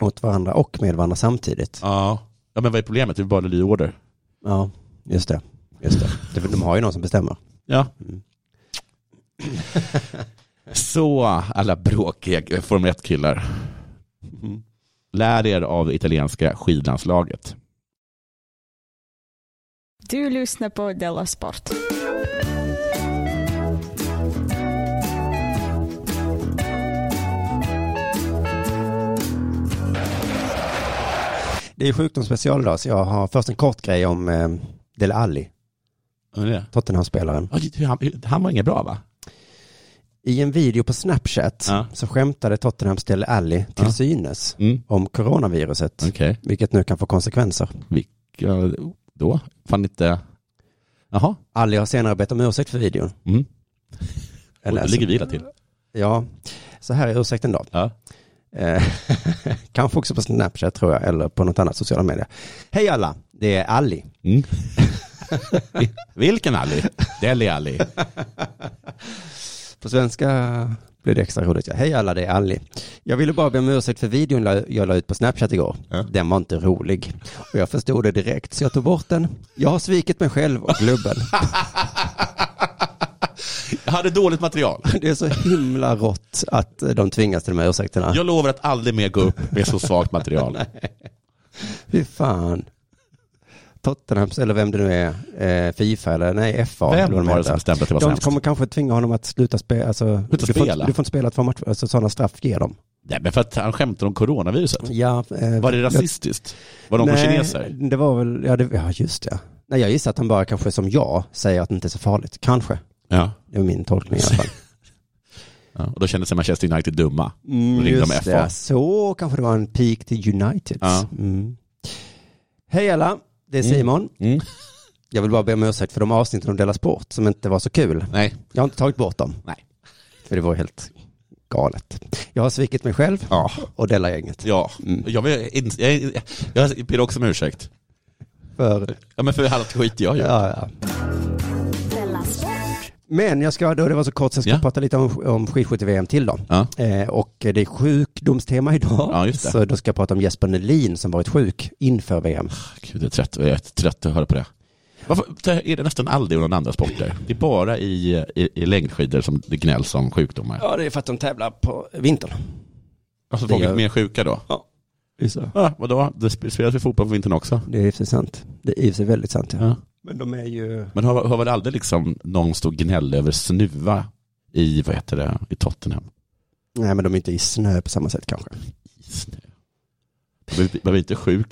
Speaker 5: Mot varandra och med varandra samtidigt.
Speaker 6: Ja. ja, men vad är problemet? Det är bara order.
Speaker 5: Ja, just det. Just det. det. är för De har ju någon som bestämmer.
Speaker 6: Ja. Så, alla bråkiga Formel 1-killar. Mm. Lär er av italienska skidlandslaget.
Speaker 7: Du lyssnar på Della Sport.
Speaker 5: Det är ju sjukdomsspecial idag, så jag har först en kort grej om eh, Dele Alli,
Speaker 6: Ja, det är det.
Speaker 5: Tottenham-spelaren.
Speaker 6: Ja, Han, han var inget bra va?
Speaker 5: I en video på Snapchat
Speaker 6: Ja.
Speaker 5: så skämtade Tottenhams Dele Alli till
Speaker 6: Ja.
Speaker 5: synes
Speaker 6: Mm.
Speaker 5: om coronaviruset,
Speaker 6: Okej.
Speaker 5: vilket nu kan få konsekvenser.
Speaker 6: Ja, Då? Fan inte... Jaha.
Speaker 5: Alli har senare bett om ursäkt för videon.
Speaker 6: Mm.
Speaker 5: Jag
Speaker 6: Och då
Speaker 5: läser.
Speaker 6: ligger vi illa till.
Speaker 5: Ja, så här är ursäkten då.
Speaker 6: Ja.
Speaker 5: Eh, Kanske också på Snapchat tror jag, eller på något annat sociala medier. Hej alla, det är Alli.
Speaker 6: Mm. Vilken Ali? Deli Ali.
Speaker 5: På svenska blir det extra roligt. Ja. Hej alla, det är Ali. Jag ville bara be om ursäkt för videon la- jag la ut på Snapchat igår.
Speaker 6: Ja.
Speaker 5: Den var inte rolig. Och jag förstod det direkt, så jag tog bort den. Jag har svikit mig själv och klubben.
Speaker 6: Jag hade dåligt material.
Speaker 5: Det är så himla rått att eh, de tvingas till de här ursäkterna.
Speaker 6: Jag lovar att aldrig mer gå upp med så svagt material.
Speaker 5: Fy fan. Tottenham, eller vem det nu är, eh, Fifa eller nej, FA.
Speaker 6: Vem
Speaker 5: eller vad de
Speaker 6: var det som
Speaker 5: heter.
Speaker 6: bestämde att det var
Speaker 5: De
Speaker 6: svenskt?
Speaker 5: kommer kanske tvinga honom att sluta spela. Alltså,
Speaker 6: Sluta
Speaker 5: du, får,
Speaker 6: spela?
Speaker 5: inte- du får inte spela två matcher, alltså, sådana straff ger dem.
Speaker 6: Nej, men för att han skämtar om coronaviruset.
Speaker 5: Ja, eh,
Speaker 6: Mm. Var det
Speaker 5: jag-
Speaker 6: rasistiskt? Var de på
Speaker 5: Nej,
Speaker 6: kineser?
Speaker 5: Det var väl, ja, det, ja just det. Nej, jag gissar att han bara kanske som jag säger att det inte är så farligt. Kanske.
Speaker 6: Ja.
Speaker 5: Det är min tolkning i alla fall.
Speaker 6: ja. Och då kände sig Manchester United dumma.
Speaker 5: Mm,
Speaker 6: Då ringde de
Speaker 5: just
Speaker 6: FA.
Speaker 5: det. Så kanske det var en peak till United.
Speaker 6: Ja.
Speaker 5: Mm. Hej alla, det är Simon.
Speaker 6: Mm.
Speaker 5: Jag vill bara be om ursäkt för de avsnitten de delas bort som inte var så kul.
Speaker 6: Nej.
Speaker 5: Jag har inte tagit bort dem.
Speaker 6: Nej.
Speaker 5: För det var helt galet. Jag har svikit mig själv
Speaker 6: Ja.
Speaker 5: och delar gänget.
Speaker 6: Ja,
Speaker 5: Mm.
Speaker 6: jag, vill, in- jag, jag ber också om ursäkt.
Speaker 5: För,
Speaker 6: Ja, men för allt skit jag gör.
Speaker 5: ja, ja. Men jag ska, då det var så kort, sen ska
Speaker 6: Ja.
Speaker 5: jag prata lite om, om skidskytte-VM till då.
Speaker 6: Ja.
Speaker 5: Eh, och det är sjukdomstema idag.
Speaker 6: Ja, just det.
Speaker 5: så då ska jag prata om Jesper Nelin som varit sjuk inför VM.
Speaker 6: Gud, jag är trött, jag är trött att höra på det. Varför är det nästan aldrig någon andra sporter? Det är bara i, i, i längdskidor som det gnälls om sjukdomar.
Speaker 5: Ja, det är för att de tävlar på vintern.
Speaker 6: Alltså
Speaker 5: det
Speaker 6: folk är
Speaker 5: gör-
Speaker 6: mer sjuka då. Ja, vadå? Det sp- spelas ju fotboll på vintern också.
Speaker 5: Det är i och för sig sant. Det är i och för sig väldigt sant.
Speaker 6: Ja.
Speaker 5: Men de är ju...
Speaker 6: Men har, har väl aldrig liksom någon stor gnäll över snuva i, vad heter det, i Tottenham?
Speaker 5: Nej, men de är inte i snö på samma sätt kanske.
Speaker 6: Snö. Man blir- man blir inte sjuk,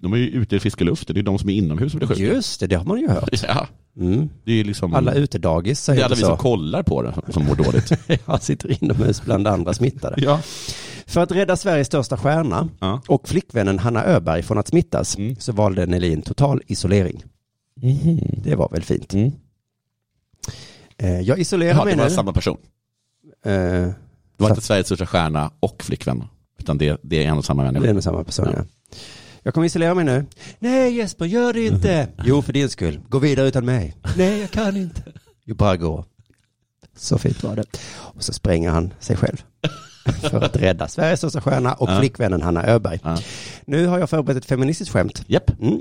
Speaker 6: de är ju ute i friska luften, det är de som är inomhus som blir sjuka.
Speaker 5: Just det, det har man ju hört.
Speaker 6: Ja,
Speaker 5: Mm.
Speaker 6: det är ju liksom...
Speaker 5: Alla utedagis
Speaker 6: det är
Speaker 5: säger
Speaker 6: alla
Speaker 5: inte
Speaker 6: vi som
Speaker 5: så.
Speaker 6: kollar på det som mår dåligt.
Speaker 5: Jag sitter inomhus bland andra smittade.
Speaker 6: ja.
Speaker 5: För att rädda Sveriges största stjärna
Speaker 6: Ja.
Speaker 5: och flickvännen Hanna Öberg från att smittas
Speaker 6: Mm.
Speaker 5: så valde Nelin total isolering. Det var väl fint.
Speaker 6: Mm.
Speaker 5: Eh, Jag isolerar
Speaker 6: Jaha,
Speaker 5: mig
Speaker 6: det
Speaker 5: nu.
Speaker 6: var samma person.
Speaker 5: Eh,
Speaker 6: Det var
Speaker 5: Så-
Speaker 6: inte Sveriges största stjärna och flickvän. Utan det, det är en och samma
Speaker 5: Det är
Speaker 6: människa.
Speaker 5: nog samma person,
Speaker 6: Ja.
Speaker 5: ja. Jag kommer isolera mig nu. Nej Jesper, gör det inte. Mm-hmm. Jo, för din skull. Gå vidare utan mig. Nej, jag kan inte. Jo, bara gå. Så fint var det. Och så spränger han sig själv. För att rädda Sveriges största stjärna och
Speaker 6: Ja.
Speaker 5: flickvännen Hanna Öberg.
Speaker 6: Ja.
Speaker 5: Nu har jag förberett ett feministiskt skämt.
Speaker 6: Japp.
Speaker 5: Mm.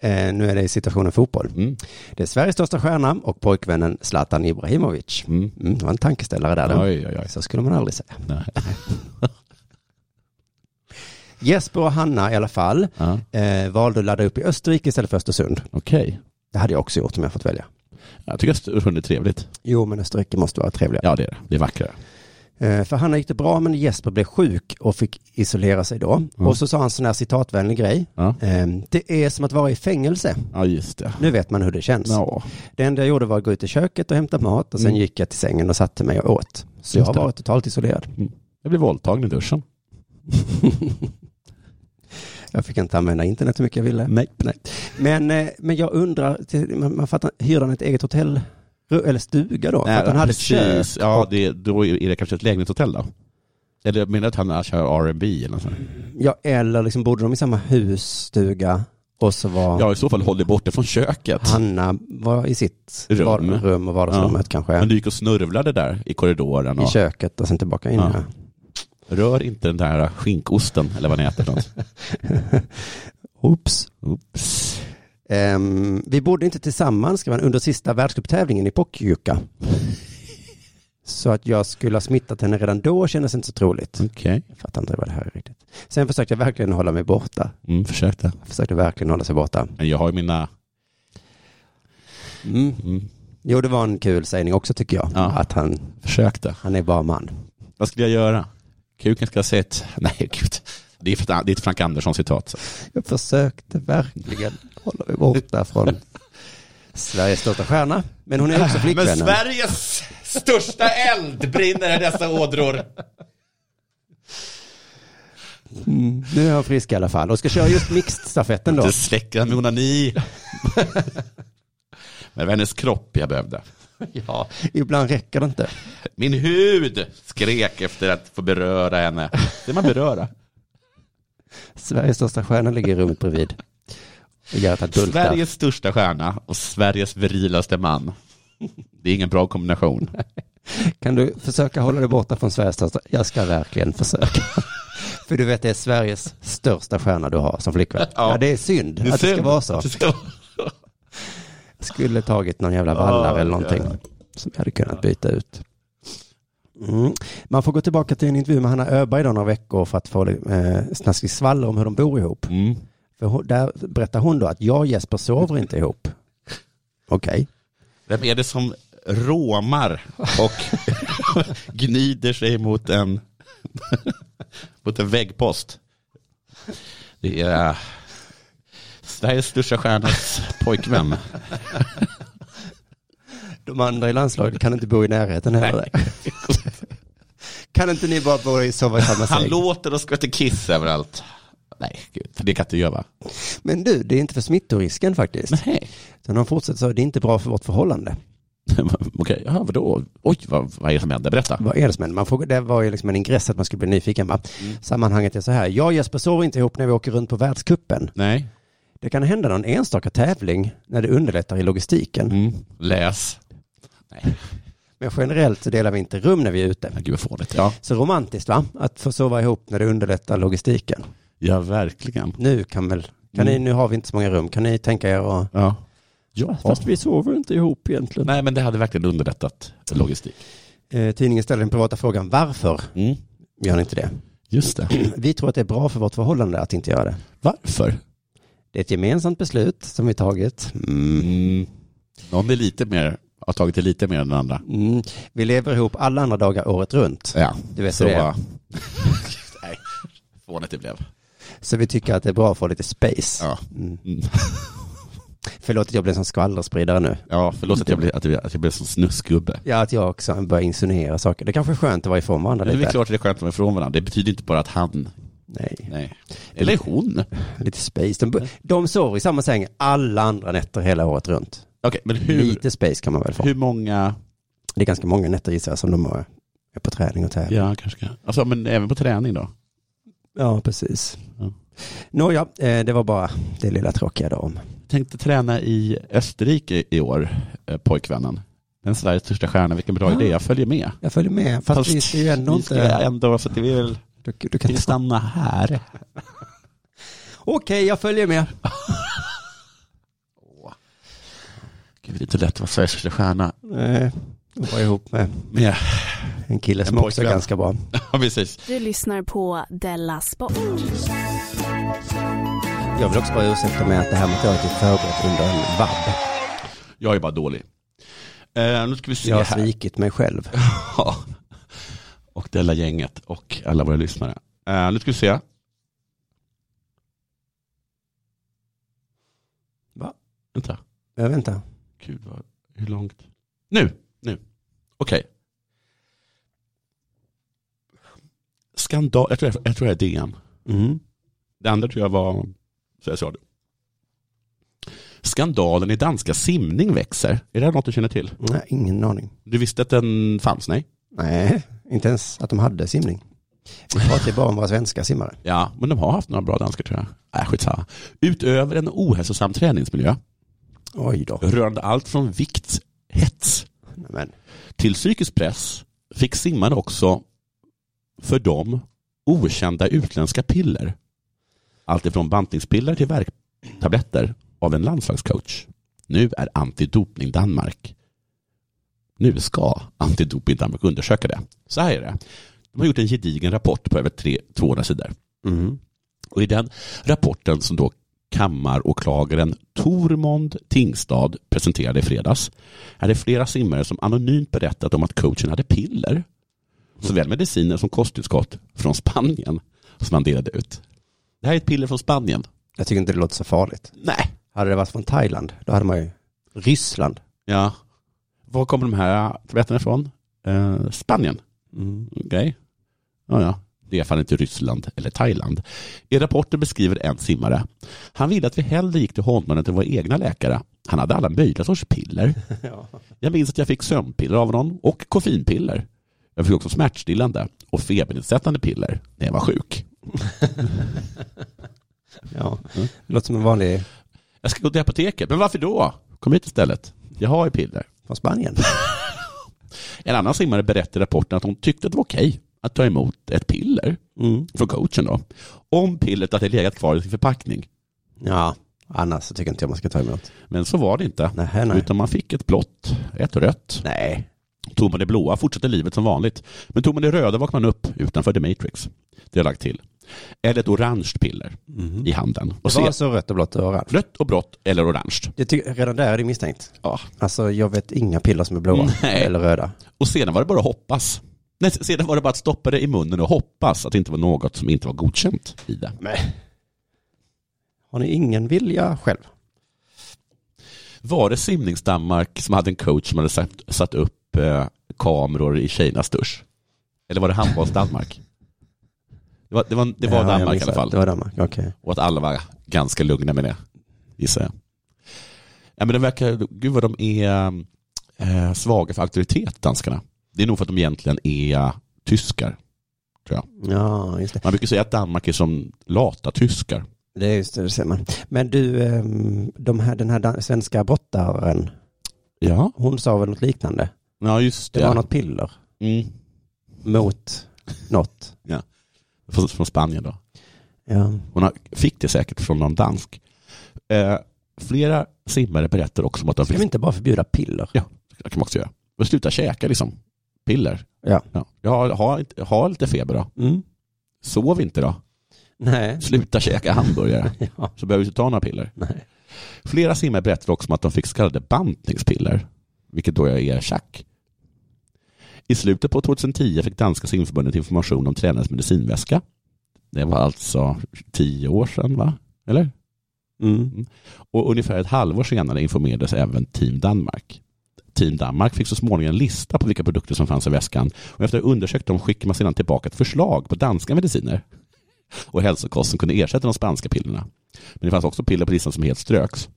Speaker 5: Eh, nu är det i situationen fotboll.
Speaker 6: Mm.
Speaker 5: Det är Sveriges största stjärna och pojkvännen Zlatan Ibrahimovic.
Speaker 6: Mm.
Speaker 5: Mm, det var en tankeställare där. då.
Speaker 6: Oj, oj, oj.
Speaker 5: Så skulle man aldrig säga.
Speaker 6: Nej.
Speaker 5: Jesper och Hanna i alla fall
Speaker 6: Ja.
Speaker 5: eh, valde att ladda upp i Österrike istället för Östersund.
Speaker 6: Okej.
Speaker 5: Det hade jag också gjort om jag fått välja.
Speaker 6: Jag tycker Östersund är trevligt.
Speaker 5: Jo, men Österrike måste vara trevligare.
Speaker 6: Ja, det är det. Det är vackrare.
Speaker 5: Eh, för Hanna gick det bra, men Jesper blev sjuk och fick isolera sig då. Och så sa han en sån här citatvänlig grej.
Speaker 6: Ja,
Speaker 5: Eh, det är som att vara i fängelse.
Speaker 6: ja just det.
Speaker 5: Nu vet man hur det känns.
Speaker 6: Ja.
Speaker 5: Det enda jag gjorde var att gå ut i köket och hämta mat och sen
Speaker 6: Mm.
Speaker 5: gick jag till sängen och satte mig och åt. Så jag
Speaker 6: Just
Speaker 5: har
Speaker 6: det.
Speaker 5: varit totalt isolerad.
Speaker 6: Jag blev våldtagen i duschen.
Speaker 5: Jag fick inte använda internet hur mycket jag ville. Nej. Men, eh, men jag undrar, till- man, man fattar, hyrde han ett eget hotell eller stuga då? För att han hade ett kök.
Speaker 6: precis. Ja, det, då är det kanske ett lägenhetshotell då. Eller jag menar att han kör R&B eller något sånt.
Speaker 5: Ja, eller liksom bodde de i samma hus, stuga och så var
Speaker 6: Ja, i så fall håll dig borta från köket.
Speaker 5: Hanna var i sitt
Speaker 6: Rum.
Speaker 5: rum, rum och vardagsrummet kanske.
Speaker 6: Men du gick och snörvlade där i korridoren
Speaker 5: I
Speaker 6: och
Speaker 5: köket och sen tillbaka in.
Speaker 6: Ja.
Speaker 5: Ja.
Speaker 6: rör inte den där skinkosten eller vad ni äter för något.
Speaker 5: Oops.
Speaker 6: Oops.
Speaker 5: Ehm, vi bodde inte tillsammans, skrev han, under sista världscuptävlingen i Pokyuka. så att jag skulle ha smittat henne redan då kändes inte så troligt.
Speaker 6: Okej.
Speaker 5: Jag fattar inte vad det här är riktigt. Sen försökte jag verkligen hålla mig borta.
Speaker 6: Mm, försökte.
Speaker 5: Jag försökte verkligen hålla sig borta.
Speaker 6: Men jag har ju mina...
Speaker 5: Mm.
Speaker 6: Mm,
Speaker 5: Jo, det var en kul sägning också tycker jag.
Speaker 6: Ja.
Speaker 5: Att han,
Speaker 6: försökte.
Speaker 5: han är bara man.
Speaker 6: Vad skulle jag göra? Kuken ska ha sett. Nej, gud. Det är, för- det är ett Frank Andersson-citat.
Speaker 5: Jag försökte verkligen hålla mig borta från Sveriges största stjärna. Men hon är också flickvännen.
Speaker 6: Sveriges största eld brinner i dessa ådror.
Speaker 5: Mm, Nu är hon frisk i alla fall och ska köra just mixed-stafetten då.
Speaker 6: Det släcker han med onani. Men det var hennes kropp jag behövde.
Speaker 5: Ja, ibland räcker det inte.
Speaker 6: Min hud skrek efter att få beröra henne. Det man beröra.
Speaker 5: Sveriges största stjärna ligger i rummet bredvid. Och Gerhard Bultar.
Speaker 6: Sveriges största stjärna och Sveriges virilaste man. Det är ingen bra kombination.
Speaker 5: Kan du försöka hålla dig borta från Sveriges största? Jag ska verkligen försöka. För du vet, det är Sveriges största stjärna du har som flickvän. Ja,
Speaker 6: Ja.
Speaker 5: det är synd att det ska vara så.
Speaker 6: Det ska-
Speaker 5: Skulle tagit någon jävla vallare
Speaker 6: Ja,
Speaker 5: eller någonting.
Speaker 6: jävlar.
Speaker 5: Som jag hade kunnat byta ut. Mm. Man får gå tillbaka till en intervju med Hanna Öberg då några veckor för att få eh, snaskig svaller om hur de bor ihop.
Speaker 6: Mm.
Speaker 5: För För hon, där berättar hon då att jag och Jesper sover inte ihop. Okej.
Speaker 6: Vem är det som råmar och gnider sig mot en, mot en väggpost? Det är äh, Sveriges största stjärnas pojkvän.
Speaker 5: De andra i landslaget kan inte bo i närheten heller. kan inte ni bara bo i sova i samma
Speaker 6: Han
Speaker 5: säng?
Speaker 6: låter och skvätter kiss överallt. Nej, gud, för det kan inte jag va?
Speaker 5: Men du, det är inte för smittorisken faktiskt.
Speaker 6: Nej.
Speaker 5: Utan hon fortsätter så, det är inte bra för vårt förhållande.
Speaker 6: Okej, ja, vadå? Oj, vad, vad är det som händer? Berätta.
Speaker 5: Vad är det som händer? Man får, det var ju liksom en ingress att man skulle bli nyfiken. Va? Sammanhanget är så här, jag och Jesper sover inte ihop när vi åker runt på världskuppen.
Speaker 6: Nej,
Speaker 5: Det kan hända någon enstaka tävling när det underlättar i logistiken.
Speaker 6: Mm. läs.
Speaker 5: Men generellt så delar vi inte rum när vi är ute.
Speaker 6: Men gud vad fånigt. Ja,
Speaker 5: Så romantiskt va? Att få sova ihop när det underlättar logistiken.
Speaker 6: ja verkligen.
Speaker 5: Nu kan väl, kan ni, nu har vi inte så många rum, kan ni tänka er att...
Speaker 6: Ja. Ja,
Speaker 5: vi sover inte ihop egentligen.
Speaker 6: Nej, men det hade verkligen underlättat logistik.
Speaker 5: Eh, tidningen ställer den privata frågan, varför
Speaker 6: Mm.
Speaker 5: gör ni inte det?
Speaker 6: Just det.
Speaker 5: Vi tror att det är bra för vårt förhållande att inte göra det.
Speaker 6: Varför?
Speaker 5: Det är ett gemensamt beslut som vi tagit.
Speaker 6: Mm. Någon är lite mer, har tagit det lite mer än den andra.
Speaker 5: Mm. Vi lever ihop alla andra dagar året runt.
Speaker 6: Ja,
Speaker 5: Du vet
Speaker 6: så... äh,
Speaker 5: hur det är.
Speaker 6: Nej, fånigt det blev.
Speaker 5: Så vi tycker att det är bra att få lite space.
Speaker 6: Ja.
Speaker 5: Mm.
Speaker 6: Mm.
Speaker 5: Förlåt att jag blev som skvallerspridare nu.
Speaker 6: Ja, förlåt att jag blev, att jag, blev- att jag blev som snuskgubbe.
Speaker 5: Ja, att jag också börjar insinuera saker. Det kanske är skönt att vara ifrån varandra
Speaker 6: Det är väl
Speaker 5: lite.
Speaker 6: klart att det är skönt att vara ifrån varandra. Det betyder inte bara att han,
Speaker 5: Nej,
Speaker 6: nej. Eller hon. Okej,
Speaker 5: lite space. De, de sover i samma säng alla andra nätter hela året runt.
Speaker 6: men hur,
Speaker 5: Lite space kan man väl få.
Speaker 6: hur många,
Speaker 5: Det är ganska många nätter gissar jag som de har- är på träning och tävling.
Speaker 6: ja kanske, kan- alltså men även på träning då?
Speaker 5: Ja, precis.
Speaker 6: Ja.
Speaker 5: Nåja, eh, det var bara det lilla tråkiga då om.
Speaker 6: Tänkte träna i Österrike i år, eh, pojkvännen. Den Sveriges största stjärna, vilken bra idé, jag följer med.
Speaker 5: Jag följer med, Ah. fast, vi ska ju ändå
Speaker 6: vi ska
Speaker 5: inte...
Speaker 6: ändå, så att vi vill
Speaker 5: Du, du kan...
Speaker 6: vi stanna här.
Speaker 5: Okej, jag följer med.
Speaker 6: Gud, det är inte lätt att vara Sveriges största stjärna.
Speaker 5: Nej, Eh, jag var ihop med
Speaker 6: Men,
Speaker 5: en kille som
Speaker 6: En
Speaker 5: också är
Speaker 6: pojkvän.
Speaker 5: ganska bra.
Speaker 6: ja, precis.
Speaker 7: Du lyssnar på Della Sport.
Speaker 5: Jag vill också bara ursäkta mig att det här materialet är förberett under en vabb.
Speaker 6: Jag är bara dålig. Eh, nu ska vi se
Speaker 5: Jag har
Speaker 6: här.
Speaker 5: svikit mig själv.
Speaker 6: Ja. Och det hela gänget och alla våra lyssnare. Eh, nu ska vi se.
Speaker 5: Va?
Speaker 6: Vänta.
Speaker 5: Jag vänta.
Speaker 6: Gud, vad, hur långt? Nu! Nu. Okej. Skandal. Jag tror, jag tror det är DN.
Speaker 5: Mm.
Speaker 6: Det andra tror jag var Sveriges Radio. Skandalen i danska simning växer. Är det här något du känner till?
Speaker 5: Nej, ingen aning.
Speaker 6: Du visste att den fanns? Nej.
Speaker 5: Nej, inte ens att de hade simning. Vi pratar ju bara om våra svenska simmare.
Speaker 6: Ja, men de har haft några bra danskar tror jag. Äh, skitsamma. Utöver en ohälsosam träningsmiljö
Speaker 5: Oj då.
Speaker 6: rörande allt från vikt, hets
Speaker 5: Men,
Speaker 6: till psykisk press fick simmarna också för dem okända utländska piller. Allt ifrån bantningspiller till värktabletter av en landslagscoach. Nu är antidopning Danmark. Nu ska antidopning Danmark undersöka det. Så här är det. De har gjort en gedigen rapport på över tre- 200 sidor.
Speaker 5: mm.
Speaker 6: Och i den rapporten som då kammaråklagaren Tormond Tingstad presenterade i fredags är det flera simmare som anonymt berättat om att coachen hade piller, såväl mediciner som kosttillskott från Spanien som han delade ut. Det här är ett piller från Spanien.
Speaker 5: jag tycker inte det låter så farligt.
Speaker 6: Nej.
Speaker 5: Hade det varit från Thailand, då hade man ju Ryssland.
Speaker 6: Ja. Var kommer de här tabletterna ifrån? Eh, Spanien.
Speaker 5: Mm.
Speaker 6: Okej. Ja, ja. Det är i alla fall inte Ryssland eller Thailand. I rapporten beskriver en simmare. Han ville att vi hellre gick till honom än till våra egna läkare. Han hade alla möjliga sorts piller. Jag minns att jag fick sömnpiller av honom och koffeinpiller. Jag fick också smärtstillande och febernedsättande piller när jag var sjuk.
Speaker 5: Ja, Mm. det låter som en vanlig
Speaker 6: Jag ska gå till apoteket, men varför då? Kom hit istället. Jag har ju piller.
Speaker 5: från Spanien.
Speaker 6: En annan simmare berättade i rapporten att hon tyckte att det var okej att ta emot ett piller
Speaker 5: Mm.
Speaker 6: från coachen då. Om pillret hade legat kvar i sin förpackning.
Speaker 5: Ja, annars så tycker inte jag man ska ta emot.
Speaker 6: Men så var det inte.
Speaker 5: Nej, nej.
Speaker 6: Utan man fick ett blått, ett rött.
Speaker 5: Nej.
Speaker 6: Tog man det blåa fortsatte livet som vanligt. Men tog man det röda vaknade man upp utanför The Matrix. Det har jag lagt till. eller ett orange piller
Speaker 5: Mhm.
Speaker 6: i handen.
Speaker 5: Det var alltså rött och blått och orange?
Speaker 6: Rött och blått eller orange.
Speaker 5: Det ty- redan där är det misstänkt.
Speaker 6: Ja.
Speaker 5: Alltså jag vet inga piller som är blåa
Speaker 6: Nej.
Speaker 5: eller röda.
Speaker 6: Och sedan var det bara att hoppas. Nej, sedan var det bara att stoppa det i munnen och hoppas att det inte var något som inte var godkänt i det.
Speaker 5: Har ni ingen vilja själv?
Speaker 6: Var det simnings-Danmark som hade en coach som hade satt, satt upp eh, kameror i tjejernas dusch? Eller var det handbolls-Danmark? Det var, det var, det var
Speaker 5: Ja, jag
Speaker 6: Danmark i
Speaker 5: missade.
Speaker 6: alla fall.
Speaker 5: Det var Danmark, okej.
Speaker 6: Och att alla var ganska lugna med det, gissar jag. Ja, men det verkar, gud vad de är eh, svaga för auktoritet, danskarna. Det är nog för att de egentligen är tyskar.
Speaker 5: Ja, just det.
Speaker 6: Man brukar säga att Danmark är som lata tyskar.
Speaker 5: Det är just det, det ser man. Men du, ehm, de här, den här dan- svenska brottaren,
Speaker 6: Ja,
Speaker 5: hon sa väl något liknande?
Speaker 6: ja just
Speaker 5: Det
Speaker 6: det.
Speaker 5: var något piller
Speaker 6: mm.
Speaker 5: mot något.
Speaker 6: från, från Spanien då.
Speaker 5: Ja.
Speaker 6: Hon har- fick det säkert från någon dansk. Eh, flera simmare berättar också om att de
Speaker 5: Ska vi inte bara förbjuda piller?
Speaker 6: Ja, det kan man också göra. Men sluta käka liksom. Piller.
Speaker 5: Ja.
Speaker 6: Ja. Jag har, har, inte- har lite feber då.
Speaker 5: Mm.
Speaker 6: Sov inte då.
Speaker 5: Nej.
Speaker 6: Sluta käka hamburgare.
Speaker 5: Ja.
Speaker 6: Så behöver du inte ta några piller.
Speaker 5: Nej.
Speaker 6: Flera simmare berättar också om att de fick så kallade bantningspiller. Vilket då är tjack. I slutet på 2010 fick Danska simförbundet information om tränarens medicinväska. Det var alltså tio år sedan va? Eller?
Speaker 5: Mm.
Speaker 6: Och ungefär ett halvår senare informerades även Team Danmark. Team Danmark fick så småningom en lista på vilka produkter som fanns i väskan och efter att ha undersökt dem skickade man sedan tillbaka ett förslag på danska mediciner och hälsokost som kunde ersätta de spanska pillerna. Men det fanns också piller på listan som helt ströks.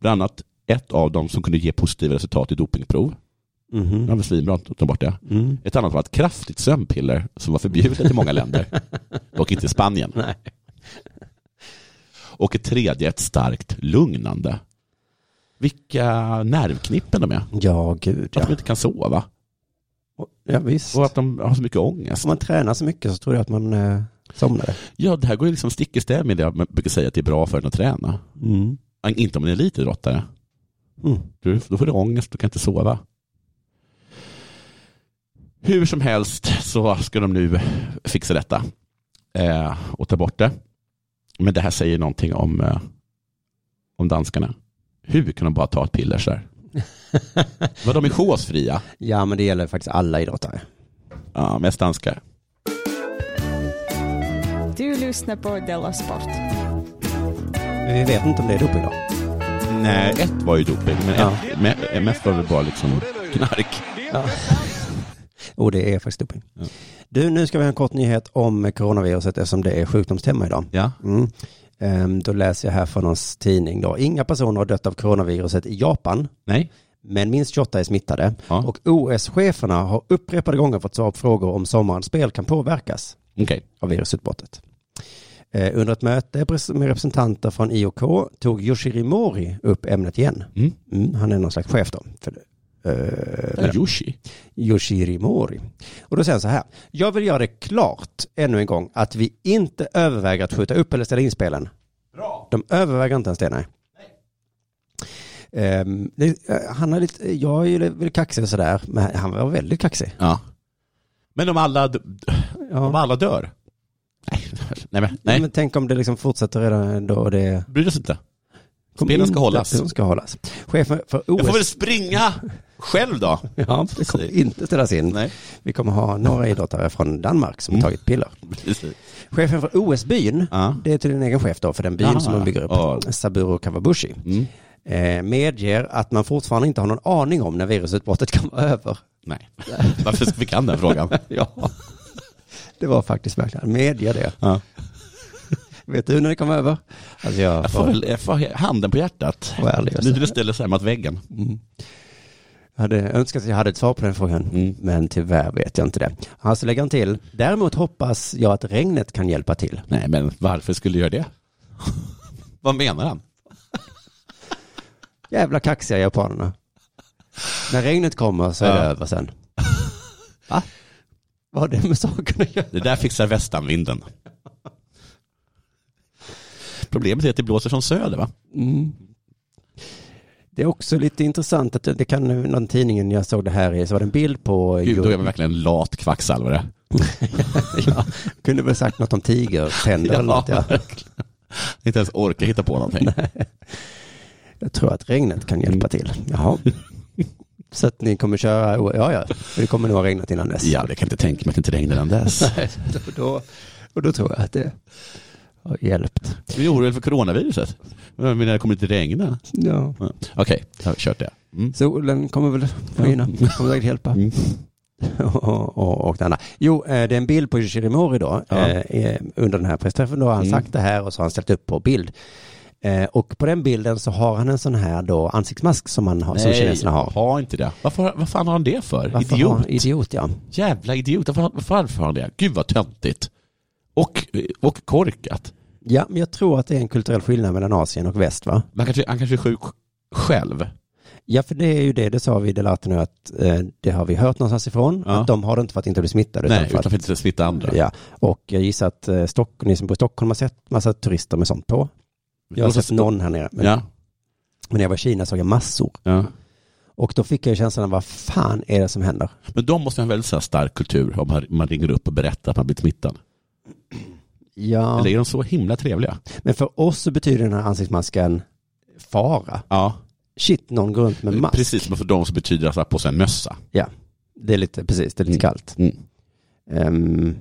Speaker 6: Bland annat ett av dem som kunde ge positiva resultat i dopingprov. Det var
Speaker 5: Mhm.
Speaker 6: väl svinbra att ta bort det.
Speaker 5: Mm.
Speaker 6: Ett annat var ett kraftigt sömnpiller som var förbjudet i många länder, dock inte i Spanien.
Speaker 5: Nej.
Speaker 6: Och ett tredje, ett starkt lugnande. Vilka nervknippen de är.
Speaker 5: Ja, gud
Speaker 6: Att de
Speaker 5: ja.
Speaker 6: inte kan sova
Speaker 5: Ja, visst.
Speaker 6: och att de har så mycket ångest.
Speaker 5: Om man tränar så mycket så tror jag att man eh, somnar.
Speaker 6: Ja, det här går ju liksom stick i stäv med det jag brukar säga att det är bra för en att träna.
Speaker 5: Mm.
Speaker 6: Inte om man är elitidrottare.
Speaker 5: Mm.
Speaker 6: Du, då får du ångest, du kan inte sova. Hur som helst så ska de nu fixa detta eh, och ta bort det. Men det här säger någonting om, eh, om danskarna. Hur kan de bara ta ett piller sådär? Vad de är chosfria.
Speaker 5: Ja, men det gäller faktiskt alla idrottare.
Speaker 6: Ja, mest danskar.
Speaker 10: Du lyssnar på Della Sport.
Speaker 5: Men Vi vet inte om det är doping då.
Speaker 6: Nej, ett var ju doping, men
Speaker 5: Ja.
Speaker 6: ett, me- mest var det bara liksom knark.
Speaker 5: Och det är faktiskt doping. Du, nu ska vi ha en kort nyhet om coronaviruset eftersom det är sjukdomstema idag.
Speaker 6: Ja.
Speaker 5: Mm. Ehm, Då läser jag här från någons tidning då. Inga personer har dött av coronaviruset i Japan,
Speaker 6: Nej.
Speaker 5: men minst 28 är smittade.
Speaker 6: Ja.
Speaker 5: Och OS-cheferna har upprepade gånger fått svar på frågor om sommarens spel kan påverkas
Speaker 6: Okej.
Speaker 5: av virusutbrottet. Eh, Under ett möte pres- med representanter från IOK tog Yoshiri Mori upp ämnet igen.
Speaker 6: Mm.
Speaker 5: Mm, han är någon slags chef då. För, eh,
Speaker 6: Eller Yoshi.
Speaker 5: Yoshiri Mori. Och då säger han så här. Jag vill göra det klart ännu en gång att vi inte överväger att skjuta upp eller ställa in spelen. Bra. De överväger inte ens det, nej. Ehm, det, eh, han är lite, jag är ju väldigt kaxig och sådär, men han var väldigt kaxig.
Speaker 6: Ja. Men om alla, d- om
Speaker 5: Ja.
Speaker 6: alla dör? Nej, nej, men, nej.
Speaker 5: Men tänk om det liksom fortsätter redan då och det...
Speaker 6: bryr oss inte.
Speaker 5: Kom
Speaker 6: Spelen ska
Speaker 5: inte-
Speaker 6: hållas.
Speaker 5: De ska hållas. Chefen för OS...
Speaker 6: Jag får väl springa själv då.
Speaker 5: Ja, det kommer inte ställas in.
Speaker 6: Nej.
Speaker 5: Vi kommer ha några idrottare från Danmark som
Speaker 6: Mm.
Speaker 5: tagit piller.
Speaker 6: Precis.
Speaker 5: Chefen för OS-byn,
Speaker 6: Ja.
Speaker 5: det är till en egen chef då för den byn
Speaker 6: Aha.
Speaker 5: som de bygger upp,
Speaker 6: Ja.
Speaker 5: Saburo Kawabushi,
Speaker 6: Mm.
Speaker 5: eh, medger att man fortfarande inte har någon aning om när virusutbrottet kan vara över.
Speaker 6: Nej. Varför fick han den frågan?
Speaker 5: Ja, det var faktiskt verkligen, han medger det.
Speaker 6: Ja.
Speaker 5: Vet du när det kom över? Alltså jag,
Speaker 6: Jag får, väl- jag får handen på hjärtat.
Speaker 5: Var ärlig och
Speaker 6: Nu
Speaker 5: så.
Speaker 6: när det ställer sig här mot väggen.
Speaker 5: hade önskat att jag hade ett svar på den frågan,
Speaker 6: Mm.
Speaker 5: men tyvärr vet jag inte det. Han så lägger han till, däremot hoppas jag att regnet kan hjälpa till.
Speaker 6: Nej, men varför skulle jag göra det? Vad menar han?
Speaker 5: Jävla kaxiga japanerna. När regnet kommer så är det
Speaker 6: Ja.
Speaker 5: över sen. Va? Vad har det med saken att göra?
Speaker 6: Det där fixar västanvinden. Problemet är att det blåser från söder, va?
Speaker 5: Mm. Det är också lite intressant att det kan, någon tidningen jag såg det här i, så var det en bild på...
Speaker 6: Gud, då är man verkligen en lat kvacksalvare.
Speaker 5: ja, kunde väl sagt något om tigertänder eller något. Ja.
Speaker 6: verkligen. Inte ens orka hitta på någonting.
Speaker 5: Jag tror att regnet kan
Speaker 6: Mm.
Speaker 5: hjälpa till. Jaha. Så att ni kommer köra, ja ja, det kommer nog ha regnat innan dess.
Speaker 6: Ja, det kan jag inte tänka mig att det inte regnar innan dess.
Speaker 5: Nej, då, då, och då tror jag att det har hjälpt.
Speaker 6: Du är orolig för coronaviruset? Men när det kommer inte regna?
Speaker 5: Ja.
Speaker 6: Ja. Okej, jag har kört det. Mm.
Speaker 5: Solen kommer väl skina, kommer säkert hjälpa. och, och, och det andra. Jo, eh, det är en bild på Shirimori då,
Speaker 6: Ja.
Speaker 5: eh, under den här pressträffen. Då har han
Speaker 6: Mm.
Speaker 5: sagt det här och så har han ställt upp på bild. Eh, och på den bilden så har han en sån här då ansiktsmask som, man har, som kineserna har.
Speaker 6: ha inte det. Varför, vad fan har han det för?
Speaker 5: Varför
Speaker 6: idiot.
Speaker 5: har han- idiot, ja.
Speaker 6: Jävla idiot. Varför, varför har han det? Gud vad töntigt. Och, och korkat.
Speaker 5: Ja, men jag tror att det är en kulturell skillnad mellan Asien och väst, va?
Speaker 6: Men han kanske, han kanske är sjuk själv.
Speaker 5: Ja, för det är ju det, det sa vi i Delarte nu, att eh, det har vi hört någonstans ifrån,
Speaker 6: Ja.
Speaker 5: att de har det inte för att inte bli smittade.
Speaker 6: Nej, utan för att inte smitta andra.
Speaker 5: Ja, och jag gissar att eh, Stock, ni som bor i Stockholm har sett massa turister med sånt på. Jag har
Speaker 6: Och så-
Speaker 5: sett någon här nere. Men,
Speaker 6: Ja.
Speaker 5: men när jag var i Kina såg jag massor.
Speaker 6: Ja.
Speaker 5: Och då fick jag ju känslan av vad fan är det som händer?
Speaker 6: Men de måste ha en väldigt så här stark kultur om man- man ringer upp och berättar att man blivit smittad.
Speaker 5: Ja,
Speaker 6: Eller är de så himla trevliga?
Speaker 5: men för oss så betyder den här ansiktsmasken fara.
Speaker 6: Ja,
Speaker 5: Shit, någon går runt med mask.
Speaker 6: Eh, precis. Men för de så betyder det att ha på sig en mössa.
Speaker 5: Ja, det är lite, precis, det är lite kallt.
Speaker 6: Mm.
Speaker 5: Ehm,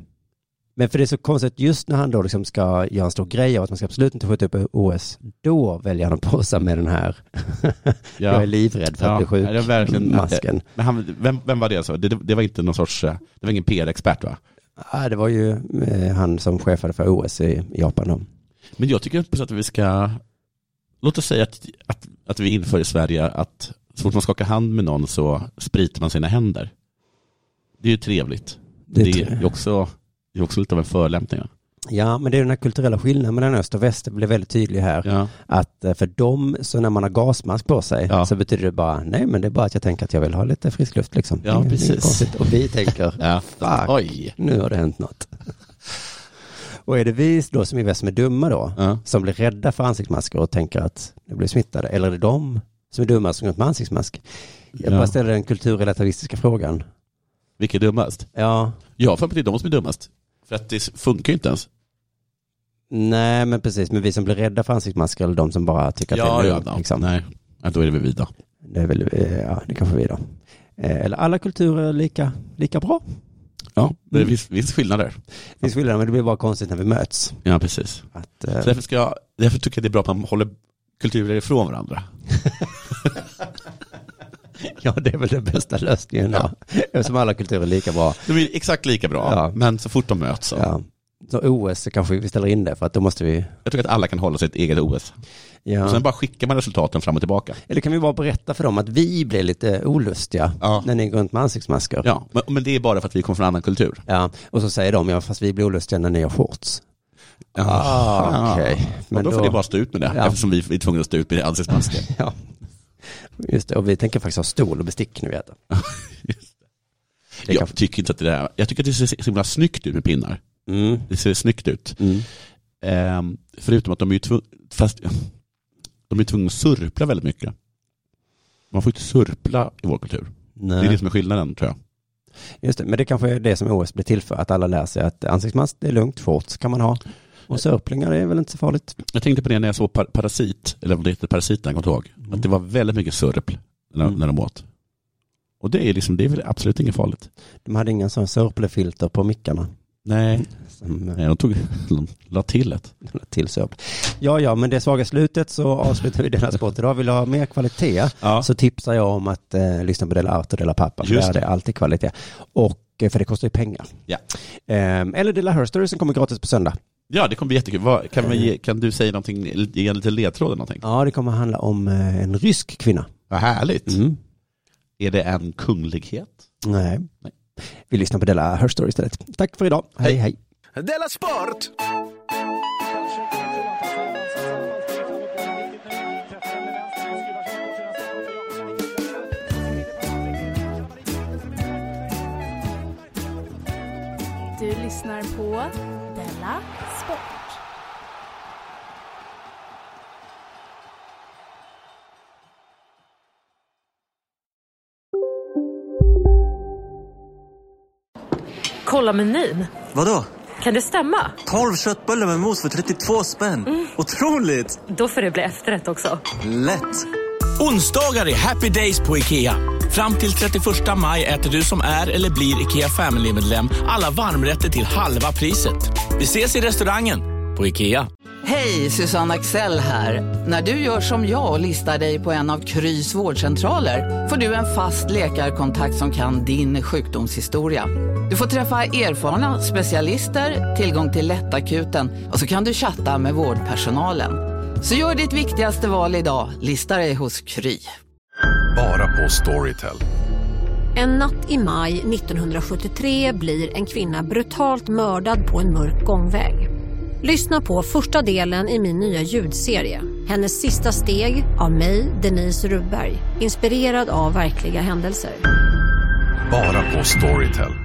Speaker 5: men för det är så konstigt, just när han då liksom ska göra en stor grej av att man ska absolut inte skjuta upp OS, då väljer han att posa med den här,
Speaker 6: Ja.
Speaker 5: jag är livrädd för att
Speaker 6: Ja,
Speaker 5: bli sjuk,
Speaker 6: är det verkligen-
Speaker 5: masken.
Speaker 6: Men han, vem, vem var det? Så? Det, det var inte någon sorts, eh, det var ingen PR-expert va?
Speaker 5: Ja, det var ju eh, han som chefade för OS i Japan då.
Speaker 6: Men jag tycker på sätt att vi ska, låt oss säga att, att, att vi inför i Sverige att så fort man skakar hand med någon så spritar man sina händer. Det är ju trevligt. Det är, ju också, det är också lite av en förolämpning. va?
Speaker 5: Ja, men det är den här kulturella skillnaden mellan öst och väst, det blev väldigt tydlig här.
Speaker 6: Ja.
Speaker 5: Att eh, för dem, så när man har gasmask på sig,
Speaker 6: Ja.
Speaker 5: så betyder det bara, nej men det är bara att jag tänker att jag vill ha lite frisk luft liksom.
Speaker 6: Ja,
Speaker 5: Inget- inget
Speaker 6: precis.
Speaker 5: konstigt. Och vi tänker,
Speaker 6: Ja.
Speaker 5: Fuck.
Speaker 6: Oj.
Speaker 5: nu har det hänt något. Och är det vi då som är väst som är dumma då,
Speaker 6: Ja.
Speaker 5: som blir rädda för ansiktsmasker och tänker att nu blir smittade, eller är det de som är dumma som går runt med ansiktsmask? Jag
Speaker 6: Ja.
Speaker 5: bara ställer den kulturrelativistiska frågan.
Speaker 6: Vilka är dummast?
Speaker 5: Ja,
Speaker 6: Jag har för mig att det är de som är dummast. För att det funkar ju inte ens.
Speaker 5: nej men precis, men vi som blir rädda för ansiktsmasker eller de som bara tycker att det är lugnt, liksom.
Speaker 6: Nej, ja, då är det väl vi då.
Speaker 5: Det är väl, eh, ja det kanske vi då. Eh, Eller alla kulturer är lika, lika bra.
Speaker 6: Ja, det
Speaker 5: Mm.
Speaker 6: finns, finns skillnader.
Speaker 5: Det finns skillnader, men det blir bara konstigt när vi möts.
Speaker 6: Ja, precis.
Speaker 5: Att, eh,
Speaker 6: Så därför, ska jag, därför tycker jag det är bra att man håller kulturer ifrån varandra.
Speaker 5: ja, det är väl den bästa lösningen då. Eftersom alla kulturer är lika bra.
Speaker 6: De är exakt lika bra,
Speaker 5: Ja.
Speaker 6: men så fort de möts så.
Speaker 5: Ja. Så OS så kanske vi ställer in det för att då måste vi...
Speaker 6: Jag tycker att alla kan hålla sitt eget OS. Och
Speaker 5: Ja.
Speaker 6: sen bara skickar man resultaten fram och tillbaka.
Speaker 5: Eller kan vi bara berätta för dem att vi blir lite olustiga
Speaker 6: Ja.
Speaker 5: när ni går runt med ansiktsmasker.
Speaker 6: Ja, men, men det är bara för att vi kommer från annan kultur.
Speaker 5: Ja, och så säger de, ja fast vi blir olustiga när ni har shorts. Ah, okej.
Speaker 6: Men
Speaker 5: Men
Speaker 6: då, får
Speaker 5: då-
Speaker 6: ni bara stå ut med det,
Speaker 5: Ja.
Speaker 6: eftersom vi är tvungna att stå ut med ansiktsmasker.
Speaker 5: Ja. Just det, och vi tänker faktiskt ha stol och bestick nu vet jag. Det
Speaker 6: jag
Speaker 5: kanske-
Speaker 6: tycker inte att det där, jag tycker att det ser så himla snyggt ut med pinnar.
Speaker 5: Mm.
Speaker 6: Det ser snyggt ut.
Speaker 5: Mm.
Speaker 6: Ehm, förutom att de är ju tvungna, fast de är tvungna att surpla väldigt mycket. Man får inte surpla i vår kultur. Det
Speaker 5: Nej.
Speaker 6: är det som är skillnaden tror jag.
Speaker 5: Just det, men det kanske är det som OS blir till för, att alla lär sig att ansiktsmask, det är lugnt, shorts kan man ha. Och sörplingar är väl inte så farligt.
Speaker 6: Jag tänkte på det när jag såg par Parasit, eller om det heter Parasit, när jag kommer ihåg. Att det var väldigt mycket surpl när,
Speaker 5: Mm.
Speaker 6: när de åt. Och det är, liksom, det är väl absolut inget farligt.
Speaker 5: De hade inga sån sörplefilter på mickarna.
Speaker 6: Nej,
Speaker 5: Som, eh,
Speaker 6: Nej de, tog, de la till ett.
Speaker 5: till sörpl. Ja, ja, men det svaga slutet så avslutar vi denna sport idag. Vill du ha mer kvalitet
Speaker 6: Ja.
Speaker 5: så tipsar jag om att eh, lyssna på Dela Arte och Dela Pappa. För
Speaker 6: Just
Speaker 5: där är det alltid kvalitet. Och, eh, för det kostar ju pengar.
Speaker 6: Ja.
Speaker 5: Ehm, eller Dela Herstory som kommer gratis på söndag.
Speaker 6: ja, det kommer bli jättekul. Vad, kan, vi, ge- kan du säga någonting, ge en liten ledtråd eller någonting?
Speaker 5: Ja, det kommer handla om eh, en rysk kvinna.
Speaker 6: Vad härligt.
Speaker 5: Mm.
Speaker 6: Är det en kunglighet?
Speaker 5: Nej.
Speaker 6: Nej.
Speaker 5: Vi lyssnar på Dela Herstory istället. Tack för idag. Hej, hej.
Speaker 11: Della Sport!
Speaker 7: Du lyssnar på Della Sport.
Speaker 12: Kolla menyn.
Speaker 13: Vadå?
Speaker 12: Kan det stämma?
Speaker 13: 12 köttbullar med mos för 32 spänn.
Speaker 11: Mm.
Speaker 13: Otroligt!
Speaker 12: Då får det bli efterrätt också.
Speaker 13: Lätt!
Speaker 14: Onsdagar är happy days på IKEA. Fram till 31 maj äter du som är eller blir IKEA Family-medlem alla varmrätter till halva priset. Vi ses i restaurangen på IKEA.
Speaker 8: Hej, Susanne Axel här. När du gör som jag och listar dig på en av Krys vårdcentraler får du en fast läkarkontakt som kan din sjukdomshistoria. Du får träffa erfarna specialister, tillgång till lättakuten och så kan du chatta med vårdpersonalen. Så gör ditt viktigaste val idag, listar dig hos Kry.
Speaker 15: Bara på Storytel.
Speaker 9: En natt i maj 1973 blir en kvinna brutalt mördad på en mörk gångväg. Lyssna på första delen i min nya ljudserie. Hennes sista steg av mig, Denise Rubberg. Inspirerad av verkliga händelser.
Speaker 15: Bara på Storytel.